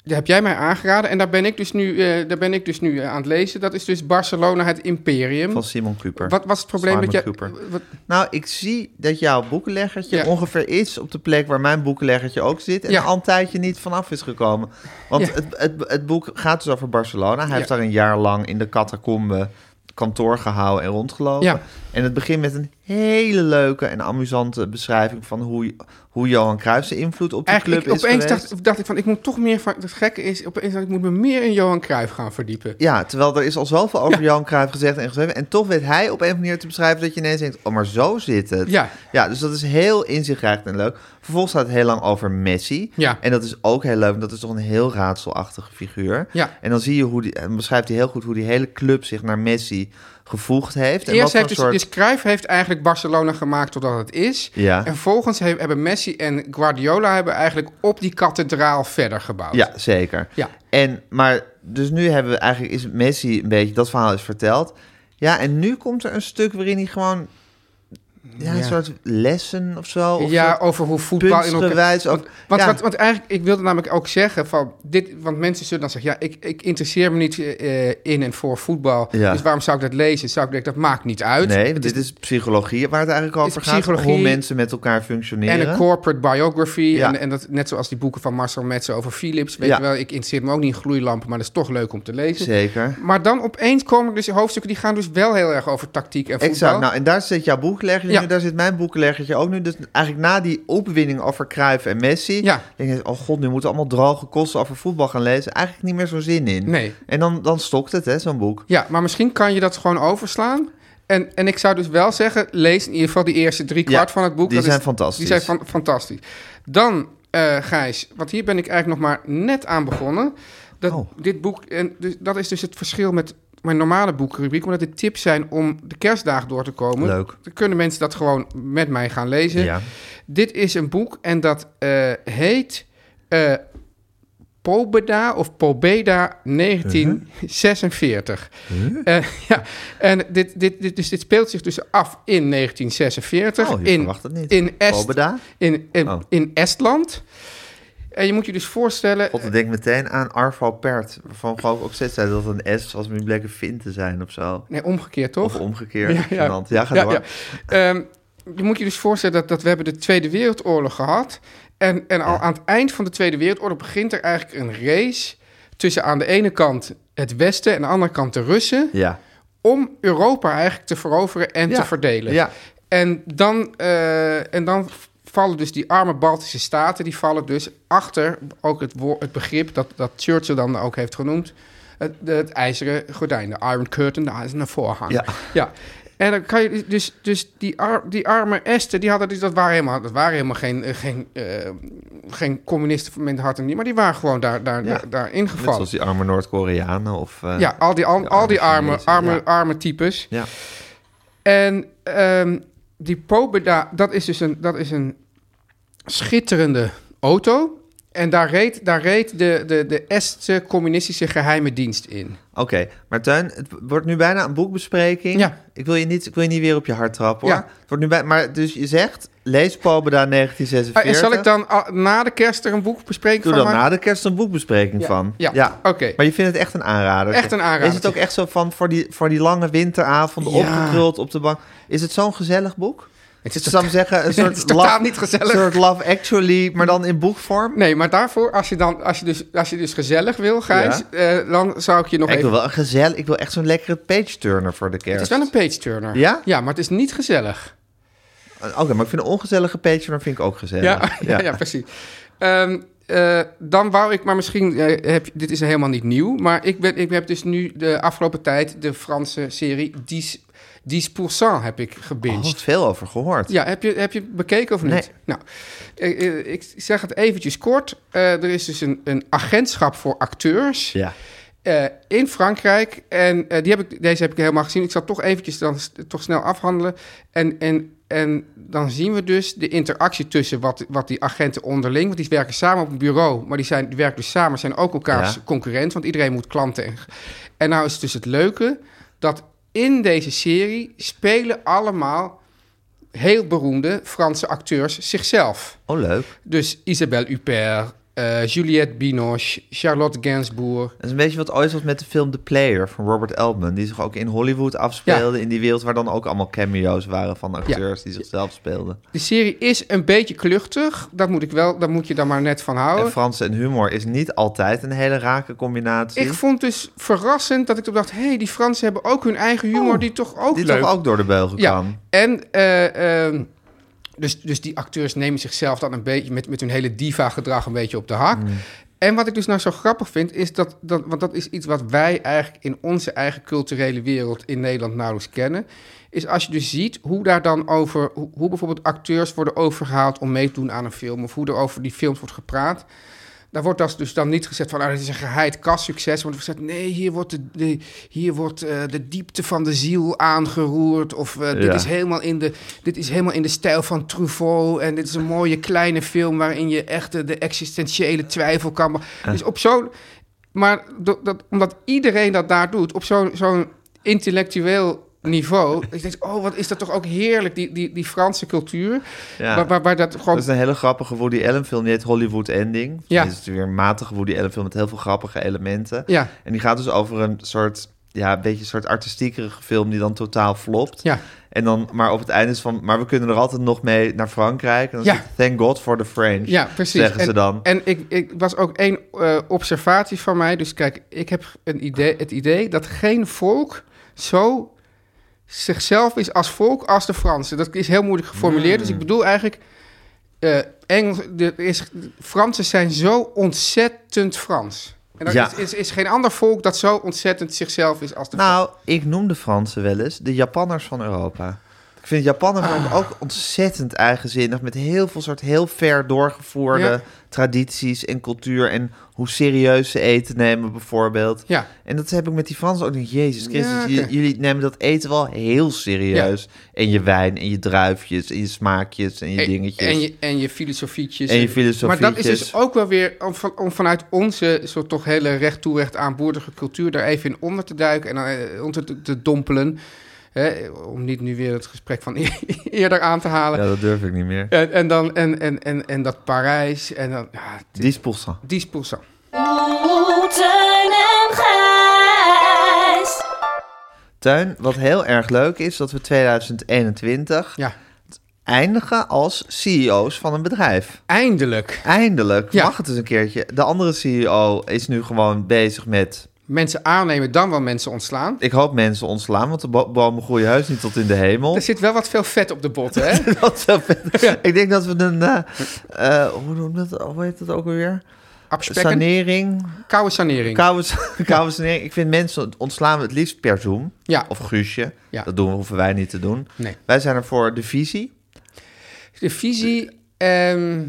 Daar heb jij mij aangeraden en daar ben ik dus nu, eh, daar ben ik dus nu eh, aan het lezen. Dat is dus Barcelona, het imperium.
Van Simon Cooper.
Wat was het probleem
Simon
met jou?
Cooper.
wat-
Nou, ik zie dat jouw boekenleggertje
Ja.
ongeveer is op de plek waar mijn boekenleggertje ook zit. En
Ja.
al een tijdje niet vanaf is gekomen. Want
Ja.
het, het, het boek gaat dus over Barcelona. Hij
Ja.
heeft daar een jaar lang in de catacombe kantoor gehouden en rondgelopen.
Ja.
En het begint met een hele leuke en amusante beschrijving van hoe, hoe Johan Cruijff zijn invloed op die
Eigenlijk,
club is
opeens
geweest.
dacht, dacht ik van, ik moet toch meer van... Het gekke is, opeens dacht ik, ik moet me meer in Johan Cruijff gaan verdiepen.
Ja, terwijl er is al zoveel over Johan Cruijff gezegd en geschreven. En toch weet hij op een manier te beschrijven dat je ineens denkt... oh, maar zo zit het.
Ja.
ja dus dat is heel inzichtrijk en leuk. Vervolgens gaat het heel lang over Messi.
Ja.
En dat is ook heel leuk, want dat is toch een heel raadselachtige figuur.
Ja.
En dan zie je hoe die, en beschrijft hij heel goed hoe die hele club zich naar Messi gevoegd heeft. En
Eerst
wat
heeft
voor
dus,
soort...
dus Cruijff heeft eigenlijk Barcelona gemaakt totdat het is.
Ja.
En vervolgens he- hebben Messi en Guardiola hebben eigenlijk op die kathedraal verder gebouwd.
Ja, zeker.
Ja.
En, maar dus nu hebben we eigenlijk, is Messi een beetje, dat verhaal is verteld. Ja, en nu komt er een stuk waarin hij gewoon ja, een soort lessen of zo? Of
ja,
soort
over hoe voetbal in elkaar...
puntsgewijs ook-
Want,
ja.
want, want eigenlijk, ik wilde namelijk ook zeggen van dit, want mensen zullen dan zeggen, ja, ik, ik interesseer me niet eh, in en voor voetbal,
Ja.
dus waarom zou ik dat lezen? Zou ik denken, dat maakt niet uit.
nee, want dit is psychologie waar het eigenlijk over
is
gaat. Hoe
psychologie.
mensen met elkaar functioneren.
En een corporate biography.
Ja.
En, en dat, net zoals die boeken van Marcel Metsen over Philips. Weet
Ja.
je wel, ik interesseer me ook niet in gloeilampen, maar dat is toch leuk om te lezen.
Zeker.
Maar dan opeens komen dus hoofdstukken die gaan dus wel heel erg over tactiek en voetbal.
Exact. Nou, en daar zit jouw boekleggertje
Ja.
nu, daar zit mijn boekleggertje ook nu. Dus eigenlijk na die opwinning over Cruijff en Messi...
Ja.
denk je, oh god, nu moeten we allemaal droge kosten over voetbal gaan lezen. Eigenlijk niet meer zo'n zin in.
Nee.
En dan, dan stokt het, hè, zo'n boek.
Ja, maar misschien kan je dat gewoon overslaan. En, en ik zou dus wel zeggen, lees in ieder geval die eerste drie kwart
Ja,
van het boek.
die
Dat
zijn fantastisch.
Die zijn fan- fantastisch. Dan, eh, Gijs, want hier ben ik eigenlijk nog maar net aan begonnen. Dat,
Oh.
dit boek, en dus, dat is dus het verschil met mijn normale boekrubriek. Omdat dit tips zijn om de kerstdagen door te komen.
Leuk.
Dan kunnen mensen dat gewoon met mij gaan lezen.
Ja.
Dit is een boek en dat eh, heet... eh, Pobeda of Pobeda 1946.
Uh-huh.
Eh, ja, en dit, dit, dit, dus dit speelt zich dus af in 1946.
Oh, je
in,
verwacht het niet.
In, Est,
Pobeda?
In, in,
Oh.
in Estland. En je moet je dus voorstellen...
God, ik denk meteen aan Arvo Pert. Van geloof ik ook steeds zei dat het een S was, maar die bleek een Finn te zijn of zo.
Nee, omgekeerd toch?
Of omgekeerd. Ja, ja. ja ga door.
ja. Ehm, je moet je dus voorstellen dat, dat we hebben de Tweede Wereldoorlog gehad. En, en al aan het eind van de Tweede Wereldoorlog begint er eigenlijk een race... tussen aan de ene kant het Westen en aan de andere kant de Russen...
Ja.
om Europa eigenlijk te veroveren en
Ja,
te verdelen.
ja.
En, dan, eh, en dan vallen dus die arme Baltische staten, die vallen dus achter ook het, woor- het begrip dat, dat Churchill dan ook heeft genoemd, het, het ijzeren gordijn, de Iron Curtain, de ijzeren voorhang.
Ja.
ja. En dan kan je dus, dus die, ar- die arme Esten, die hadden dus, dat waren helemaal, dat waren helemaal geen, eh, geen, eh, geen communisten met hart en niet, maar die waren gewoon daar, daar,
Ja.
daar, daar
Net
ingevallen.
zoals die arme Noord-Koreanen of... eh,
Ja, al die, al,
de
al die arme,
Chinezen,
arme,
ja.
arme types.
Ja.
En ehm, die Pobeda, dat is dus een, dat is een schitterende auto. En daar reed, daar reed de, de, de Estse communistische geheime dienst in.
Oké, maar Tuin, het wordt nu bijna een boekbespreking.
Ja.
Ik wil je niet, ik wil je niet weer op je hart trappen, hoor.
Ja.
Het wordt nu bij, maar dus je zegt, lees Pobeda
Ah,
1946.
en zal ik dan ah, na de kerst er een boek bespreken
Doe
van
dan
maken?
na de kerst een boekbespreking van.
Ja, oké.
Maar je vindt het echt een aanrader.
Echt een aanrader.
Is het ook echt zo van voor die, voor die lange winteravond
Ja.
opgekruld op de bank? Is het zo'n gezellig boek?
Het
Ik
is
zou hem zeggen, een
Nee,
soort
[laughs] het is totaal
love,
niet gezellig.
Een soort love actually, maar dan in boekvorm.
Nee, maar daarvoor, als je, dan, als je, dus, als je dus gezellig wil, Gijs, eh, dan zou ik je nog
ik wil
even...
wel een gezellig, ik wil echt zo'n lekkere page turner voor de kerst.
Het is wel een page-turner.
Ja?
Ja, maar het is niet gezellig.
Oké, maar ik vind een ongezellige page turner vind ik ook gezellig.
Ja, [laughs] ja. ja, precies. Ehm, eh, dan wou ik, maar misschien, eh, heb, dit is helemaal niet nieuw, maar ik, ben, ik heb dus nu de afgelopen tijd de Franse serie 10%, 10% heb ik
Oh,
gebinged.
wat veel over gehoord.
Ja, heb je, heb je het bekeken of niet?
Nee.
Nou, eh, eh, ik zeg het eventjes kort. Eh, er is dus een, een agentschap voor acteurs
Ja.
eh, in Frankrijk. En eh, die heb ik, deze heb ik helemaal gezien. Ik zal toch eventjes dan s- toch snel afhandelen. En, en, en dan zien we dus de interactie tussen wat, wat die agenten onderling... want die werken samen op een bureau, maar die, zijn, die werken dus samen... zijn ook elkaars
Ja.
concurrent, want iedereen moet klanten. En, en nou is het dus het leuke dat in deze serie spelen allemaal... heel beroemde Franse acteurs zichzelf.
Oh, leuk.
Dus Isabelle Huppert... eh, Juliette Binoche, Charlotte Gainsbourg,
Dat is een beetje wat ooit was met de film The Player van Robert Altman... die zich ook in Hollywood afspeelde, in die wereld... waar dan ook allemaal cameo's waren van acteurs die zichzelf speelden.
De serie is een beetje kluchtig. Dat moet ik wel, daar moet je dan maar net van
En
houden.
Frans en humor is niet altijd een hele rake combinatie.
Ik vond dus verrassend dat ik toen dacht... hé, hey, die Fransen hebben ook hun eigen humor die toch ook
Oh, die
leuk
toch ook door de beugel
ja.
kan.
En eh, ehm, dus, dus die acteurs nemen zichzelf dan een beetje met, met hun hele diva-gedrag een beetje op de hak. En wat ik dus nou zo grappig vind, is dat, dat, want dat is iets wat wij eigenlijk in onze eigen culturele wereld in Nederland nauwelijks kennen, is als je dus ziet hoe daar dan over, hoe, hoe bijvoorbeeld acteurs worden overgehaald om mee te doen aan een film, of hoe er over die films wordt gepraat. Daar wordt dat dus dan niet gezegd van, ah, dit is een geheid kassucces. Maar er wordt gezegd, nee, hier wordt, de, de- hier wordt eh, de diepte van de ziel aangeroerd. Of eh,
Ja.
dit, is helemaal in de, dit is helemaal in de stijl van Truffaut. En dit is een mooie kleine film waarin je echt eh, de existentiële twijfel kan... be- Dus op zo'n... Maar do- dat, omdat iedereen dat daar doet, op zo'n zo'n intellectueel niveau. Ik denk, oh, wat is dat toch ook heerlijk, die, die, die Franse cultuur.
Ja.
Waar, waar, waar dat gewoon...
Dat is een hele grappige Woody Allen film, die heet Hollywood Ending.
Ja.
Dat is weer een matige Woody Allen film met heel veel grappige elementen.
Ja.
En die gaat dus over een soort, ja, een beetje een soort artistiekerige film die dan totaal flopt.
Ja.
En dan, maar op het einde is van, maar we kunnen er altijd nog mee naar Frankrijk. En dan
Ja.
zit het, thank God for the French,
Ja, precies.
dus zeggen
en,
ze dan.
En ik, ik was ook één eh, observatie van mij. Dus kijk, ik heb een idee, het idee dat geen volk zo zichzelf is als volk als de Fransen. Dat is heel moeilijk geformuleerd. Dus ik
Hmm.
bedoel eigenlijk, eh, Engels, de, is, Fransen zijn zo ontzettend Frans. En er
Ja.
is, is, is geen ander volk dat zo ontzettend zichzelf is als de Fransen.
Nou, ik noem de Fransen wel eens de Japanners van Europa. Ik vind Japanners namelijk
Ah.
ook ontzettend eigenzinnig. Met heel veel soort heel ver doorgevoerde
Ja.
tradities en cultuur. En hoe serieus ze eten nemen bijvoorbeeld.
Ja.
En dat heb ik met die Fransen ook. Denk, Jezus Christus,
Ja, oké.
j- jullie nemen dat eten wel heel serieus. En je wijn en je druifjes en je smaakjes en je
En-
dingetjes.
En je, en je filosofietjes.
En je filosofietjes.
Maar dat is dus ook wel weer om, van, om vanuit onze soort toch hele recht toe recht aan boerdige cultuur daar even in onder te duiken en dan, eh, onder te, te dompelen. Hè, om niet nu weer het gesprek van [laughs] eerder aan te halen.
Ja, dat durf ik niet meer.
En, en dan en, en, en, en dat Parijs en dan ja,
Die is poelsa.
die is poelsa.
Oeh, Oh, Teun en Gijs.
Tuin, wat heel erg leuk is, dat we 2021
Ja,
eindigen als CEO's van een bedrijf.
eindelijk
Eindelijk
Ja.
mag het eens een keertje. De andere CEO is nu gewoon bezig met...
mensen aannemen, dan wel mensen ontslaan.
Ik hoop mensen ontslaan, want de bo- bomen groeien heus niet tot in de hemel.
Er zit wel wat veel vet op de botten, hè?
[laughs] Dat zou
[laughs]
vet- Ik denk dat we een... eh, eh, hoe, noem dat, hoe heet dat ook alweer?
Abspekken,
Sanering.
koude sanering.
Koude, [laughs] koude sanering. Ik vind mensen ontslaan we het liefst per Zoom.
Ja.
Of Guusje.
Ja.
Dat doen we, hoeven wij niet te doen.
Nee.
Wij zijn er voor de visie
De visie, ehm,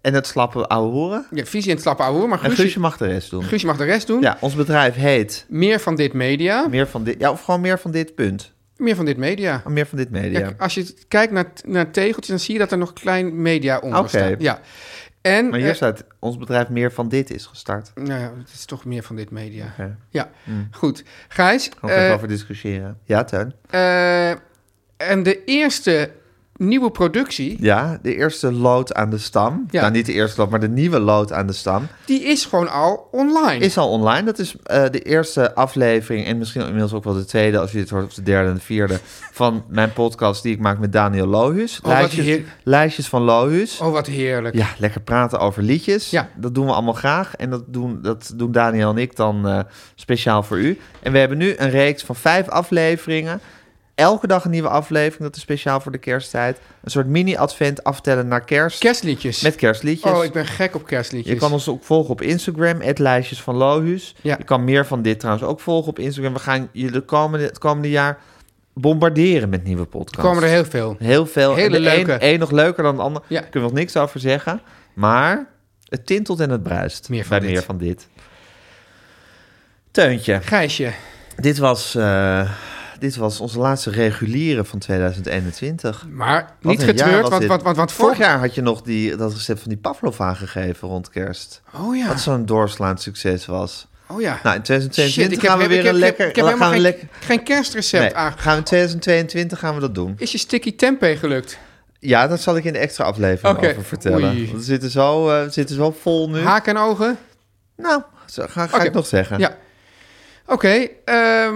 en het slappe ouwe hoeren.
ja, visie en het slappe ouwe, hoer, maar
En Guusje
Guusje,
mag de rest doen.
Guusje mag de rest doen.
Ja, ons bedrijf heet
Meer van dit media.
meer van dit... Ja, of gewoon meer van dit punt. Oh,
Meer van dit media.
Meer van dit media.
Ja, als je kijkt naar, naar tegeltjes, dan zie je dat er nog klein media onder
Oké.
staat. Ja. En,
Maar hier
eh,
staat, ons bedrijf meer van dit is gestart. Daar
nou ja, het is toch meer van dit media.
Oké.
Ja, goed. Gijs,
gaan we even
eh,
over discussiëren. Ja, Tuin.
eh, en de eerste nieuwe productie,
Ja, de eerste lood aan de stam.
Ja.
Nou, niet de eerste lood, maar de nieuwe lood aan de stam.
die is gewoon al online.
Is al online. Dat is eh, de eerste aflevering en misschien inmiddels ook wel de tweede... als je dit hoort, of de derde en de vierde... van mijn podcast die ik maak met Daniel Lohuus.
Oh, wat
lijstjes,
heer-
lijstjes van Lohuus.
Oh, wat heerlijk.
Ja, lekker praten over liedjes.
Ja.
Dat doen we allemaal graag. En dat doen, dat doen Daniel en ik dan eh, speciaal voor u. En we hebben nu een reeks van vijf afleveringen. Elke dag een nieuwe aflevering. Dat is speciaal voor de kersttijd. Een soort mini-advent aftellen naar kerst.
Kerstliedjes.
Met kerstliedjes.
Oh, ik ben gek op kerstliedjes.
Je kan ons ook volgen op Instagram, het lijstjes van Lohuus.
Ja.
Je kan meer van dit trouwens ook volgen op Instagram. We gaan je de komende, het komende jaar bombarderen met nieuwe
Er
podcasts.
komen er heel veel.
Heel veel.
Hele
en de
leuke.
Een, een nog leuker dan de ander.
Ja.
Daar kunnen we nog niks over zeggen. Maar het tintelt en het bruist.
Meer van
bij
dit.
meer van dit. Teuntje,
Gijsje,
dit was, eh, dit was onze laatste reguliere van 2021.
maar
Wat
niet
een jaar
getreurd,
was
want,
dit.
want, want, want
Vorig
vorig...
jaar had je nog die, dat recept van die Pavlov aangegeven rond kerst.
Oh ja,
Wat zo'n doorslaand succes was.
oh ja.
Nou, in 2022
Shit, ik
gaan we
heb-
weer
ik
een
heb-
lekker...
Ik heb, ik heb
gaan we
helemaal geen,
lekker-
geen kerstrecept
Nee,
aange-
gaan we in 2022 gaan we dat doen.
Is je sticky tempeh gelukt?
Ja, daar zal ik in de extra aflevering
Oké.
over vertellen.
Oei.
Want we zitten zo, eh, we zitten zo vol nu.
Haak en ogen?
Nou, zo- ga, ga
Oké.
ik nog zeggen.
Ja. Oké, ehm,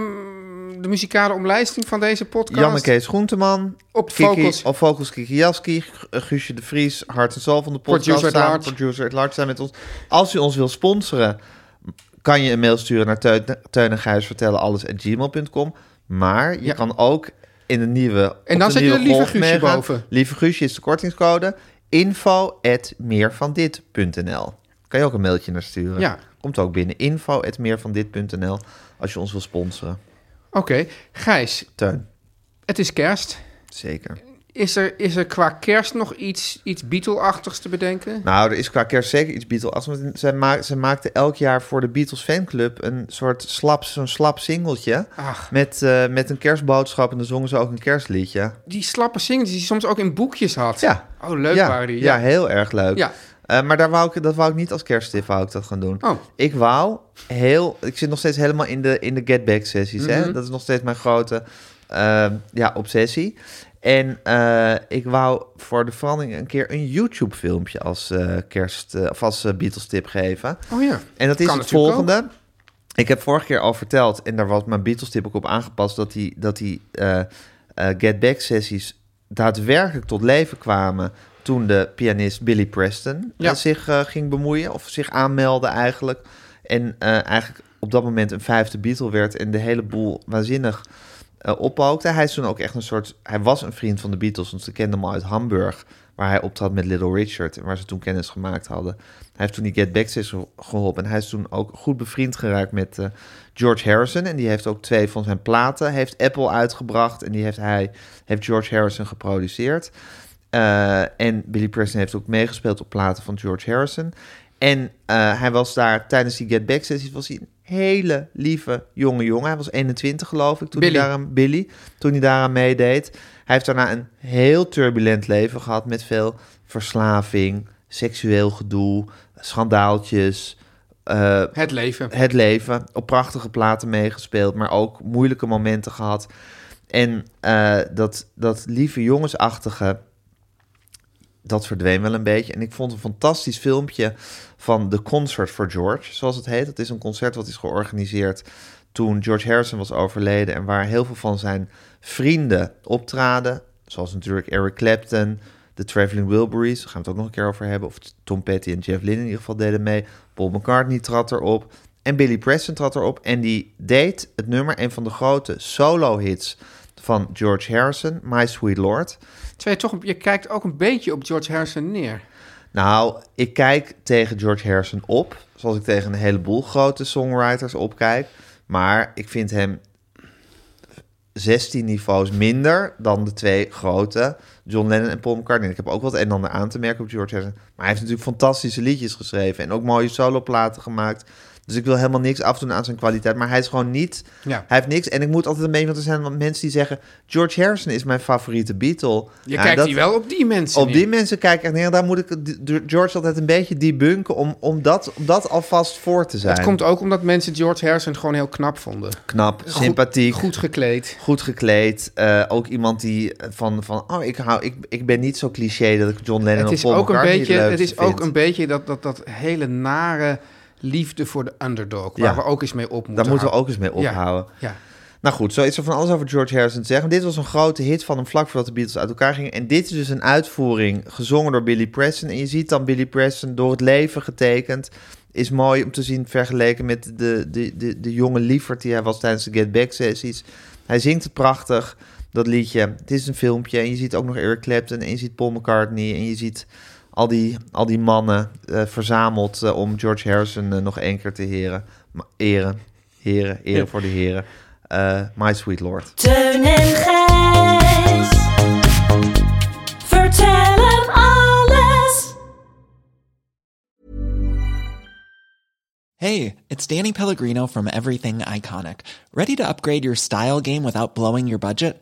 de muzikale omlijsting van deze podcast.
Janne Kees Groenteman.
Op
Kiki-
Vocals.
Op Vocals Kiki Jaski. Gu- Guusje de Vries. Hart en Zal van de podcast.
Producer at
staan-
large.
Producer at large zijn met ons. Als u ons wil sponsoren, kan je een mail sturen naar Teun, Teun en Gijs vertellen alles at gmail.com. Maar je
Ja.
kan ook in de nieuwe. op
dan
de
zet je
nieuwe
de lieve
golf
Guusje
meegaan.
boven.
Lieve Guusje is de kortingscode. Info at meervandit.nl. Kan je ook een mailtje naar sturen?
Ja.
Komt ook binnen. Info at meervandit.nl als je ons wil sponsoren.
Oké, Gijs,
Teun,
het is kerst.
zeker.
Is er, is er qua kerst nog iets, iets Beatle-achtigs te bedenken?
Nou, er is qua kerst zeker iets Beatles-achtigs. want Zij, maak, zij maakte elk jaar voor de Beatles fanclub een soort slap, zo'n slap singeltje.
Ach.
Met, eh, met een kerstboodschap en dan zongen ze ook een kerstliedje.
Die slappe singles die je soms ook in boekjes had.
Ja.
Oh, leuk
ja,
waren die.
Ja. heel erg leuk.
Ja.
Eh, maar daar wou ik, dat wou ik niet als kerststip wou ik dat gaan doen.
Oh.
Ik
Mhm.
wou heel... Ik zit nog steeds helemaal in de, in de get back sessies. hè? Dat is nog steeds mijn grote eh, eh, ja, obsessie. En eh, ik wou voor de verandering een keer een YouTube-filmpje als eh, kerst, eh, of als Beatles-tip geven.
Oh ja.
En dat is
Kan
het
natuurlijk ook.
volgende. Ik heb vorige keer al verteld, en daar was mijn Beatles-tip ook op aangepast, dat die, dat die eh, eh, Get Back-sessies daadwerkelijk tot leven kwamen toen de pianist Billy Preston eh,
Ja.
zich eh, ging bemoeien, of zich aanmeldde eigenlijk. En eh, eigenlijk op dat moment een vijfde Beatle werd en de hele boel waanzinnig eh oppookte. Hij is toen ook echt een soort... Hij was een vriend van de Beatles, want ze kenden hem al uit Hamburg... waar hij optrad met Little Richard en waar ze toen kennis gemaakt hadden. Hij heeft toen die Get Back Session geholpen... en hij is toen ook goed bevriend geraakt met eh, George Harrison... en die heeft ook twee van zijn platen, heeft Apple uitgebracht... en die heeft hij, heeft George Harrison geproduceerd... Eh, en Billy Preston heeft ook meegespeeld op platen van George Harrison. En eh, hij was daar tijdens die Get Back sessies was hij een hele lieve jonge jongen. Hij was 21 geloof ik toen
Billy.
hij daaraan Billy toen hij daaraan meedeed. Hij heeft daarna een heel turbulent leven gehad met veel verslaving, seksueel gedoe, schandaaltjes. eh,
Het leven.
het leven. Op prachtige platen meegespeeld, maar ook moeilijke momenten gehad. En eh, dat, dat lieve jongensachtige, dat verdween wel een beetje. En ik vond een fantastisch filmpje van The Concert for George, zoals het heet. Dat is een concert wat is georganiseerd toen George Harrison was overleden... en waar heel veel van zijn vrienden optraden. Zoals natuurlijk Eric Clapton, de Traveling Wilburys... daar gaan we het ook nog een keer over hebben. Of Tom Petty en Jeff Lynne in ieder geval deden mee. Paul McCartney trad erop. En Billy Preston trad erop. En die deed het nummer, een van de grote solo-hits van George Harrison... My Sweet Lord...
Terwijl je, toch, je kijkt ook een beetje op George Harrison neer.
Nou, ik kijk tegen George Harrison op, zoals ik tegen een heleboel grote songwriters opkijk. Maar ik vind hem 16 niveaus minder dan de twee grote, John Lennon en Paul McCartney. Ik heb ook wat een en ander aan te merken op George Harrison. Maar hij heeft natuurlijk fantastische liedjes geschreven en ook mooie soloplaten gemaakt. Dus ik wil helemaal niks afdoen aan zijn kwaliteit. Maar hij is gewoon niet.
Ja.
Hij heeft niks. En ik moet altijd een beetje. Want er zijn wat mensen die zeggen. George Harrison is mijn favoriete Beatle.
Je kijkt die wel op die mensen
Op
neer.
die mensen kijk ik echt neer. Daar moet ik George altijd een beetje debunken om, om, dat, om dat alvast voor te zijn.
Het komt ook omdat mensen George Harrison gewoon heel knap vonden.
knap,
Goed-
sympathiek, goed,
Goed gekleed.
gekleed. Eh, ook iemand die van, van oh, ik, hou, ik, ik ben niet zo cliché dat ik John Lennon
Het
of
is,
Paul
ook een,
McCartney
beetje,
leuk
het is
vind.
ook een beetje dat, dat, dat hele nare liefde voor de underdog. Waar
Ja.
we ook eens mee op moeten
Daar moeten we
houden.
ook eens mee
Ja.
ophouden.
Ja.
Nou goed, zo is er van alles over George Harrison te zeggen. Dit was een grote hit van hem vlak voordat de Beatles uit elkaar gingen. En dit is dus een uitvoering gezongen door Billy Preston. En je ziet dan Billy Preston door het leven getekend. Is mooi om te zien vergeleken met de, de, de, de jonge lieverd die hij was tijdens de Get Back sessies. Hij zingt het prachtig, dat liedje. Het is een filmpje en je ziet ook nog Eric Clapton en je ziet Paul McCartney. En je ziet al die, al die mannen eh, verzameld eh, om George Harrison eh, nog één keer te heren. Ma- eren, heren, eren voor de heren. Eh, My Sweet Lord.
Teun en Gijs. Vertel hem alles.
Hey, it's Danny Pellegrino from Everything Iconic. Ready to upgrade your style game without blowing your budget?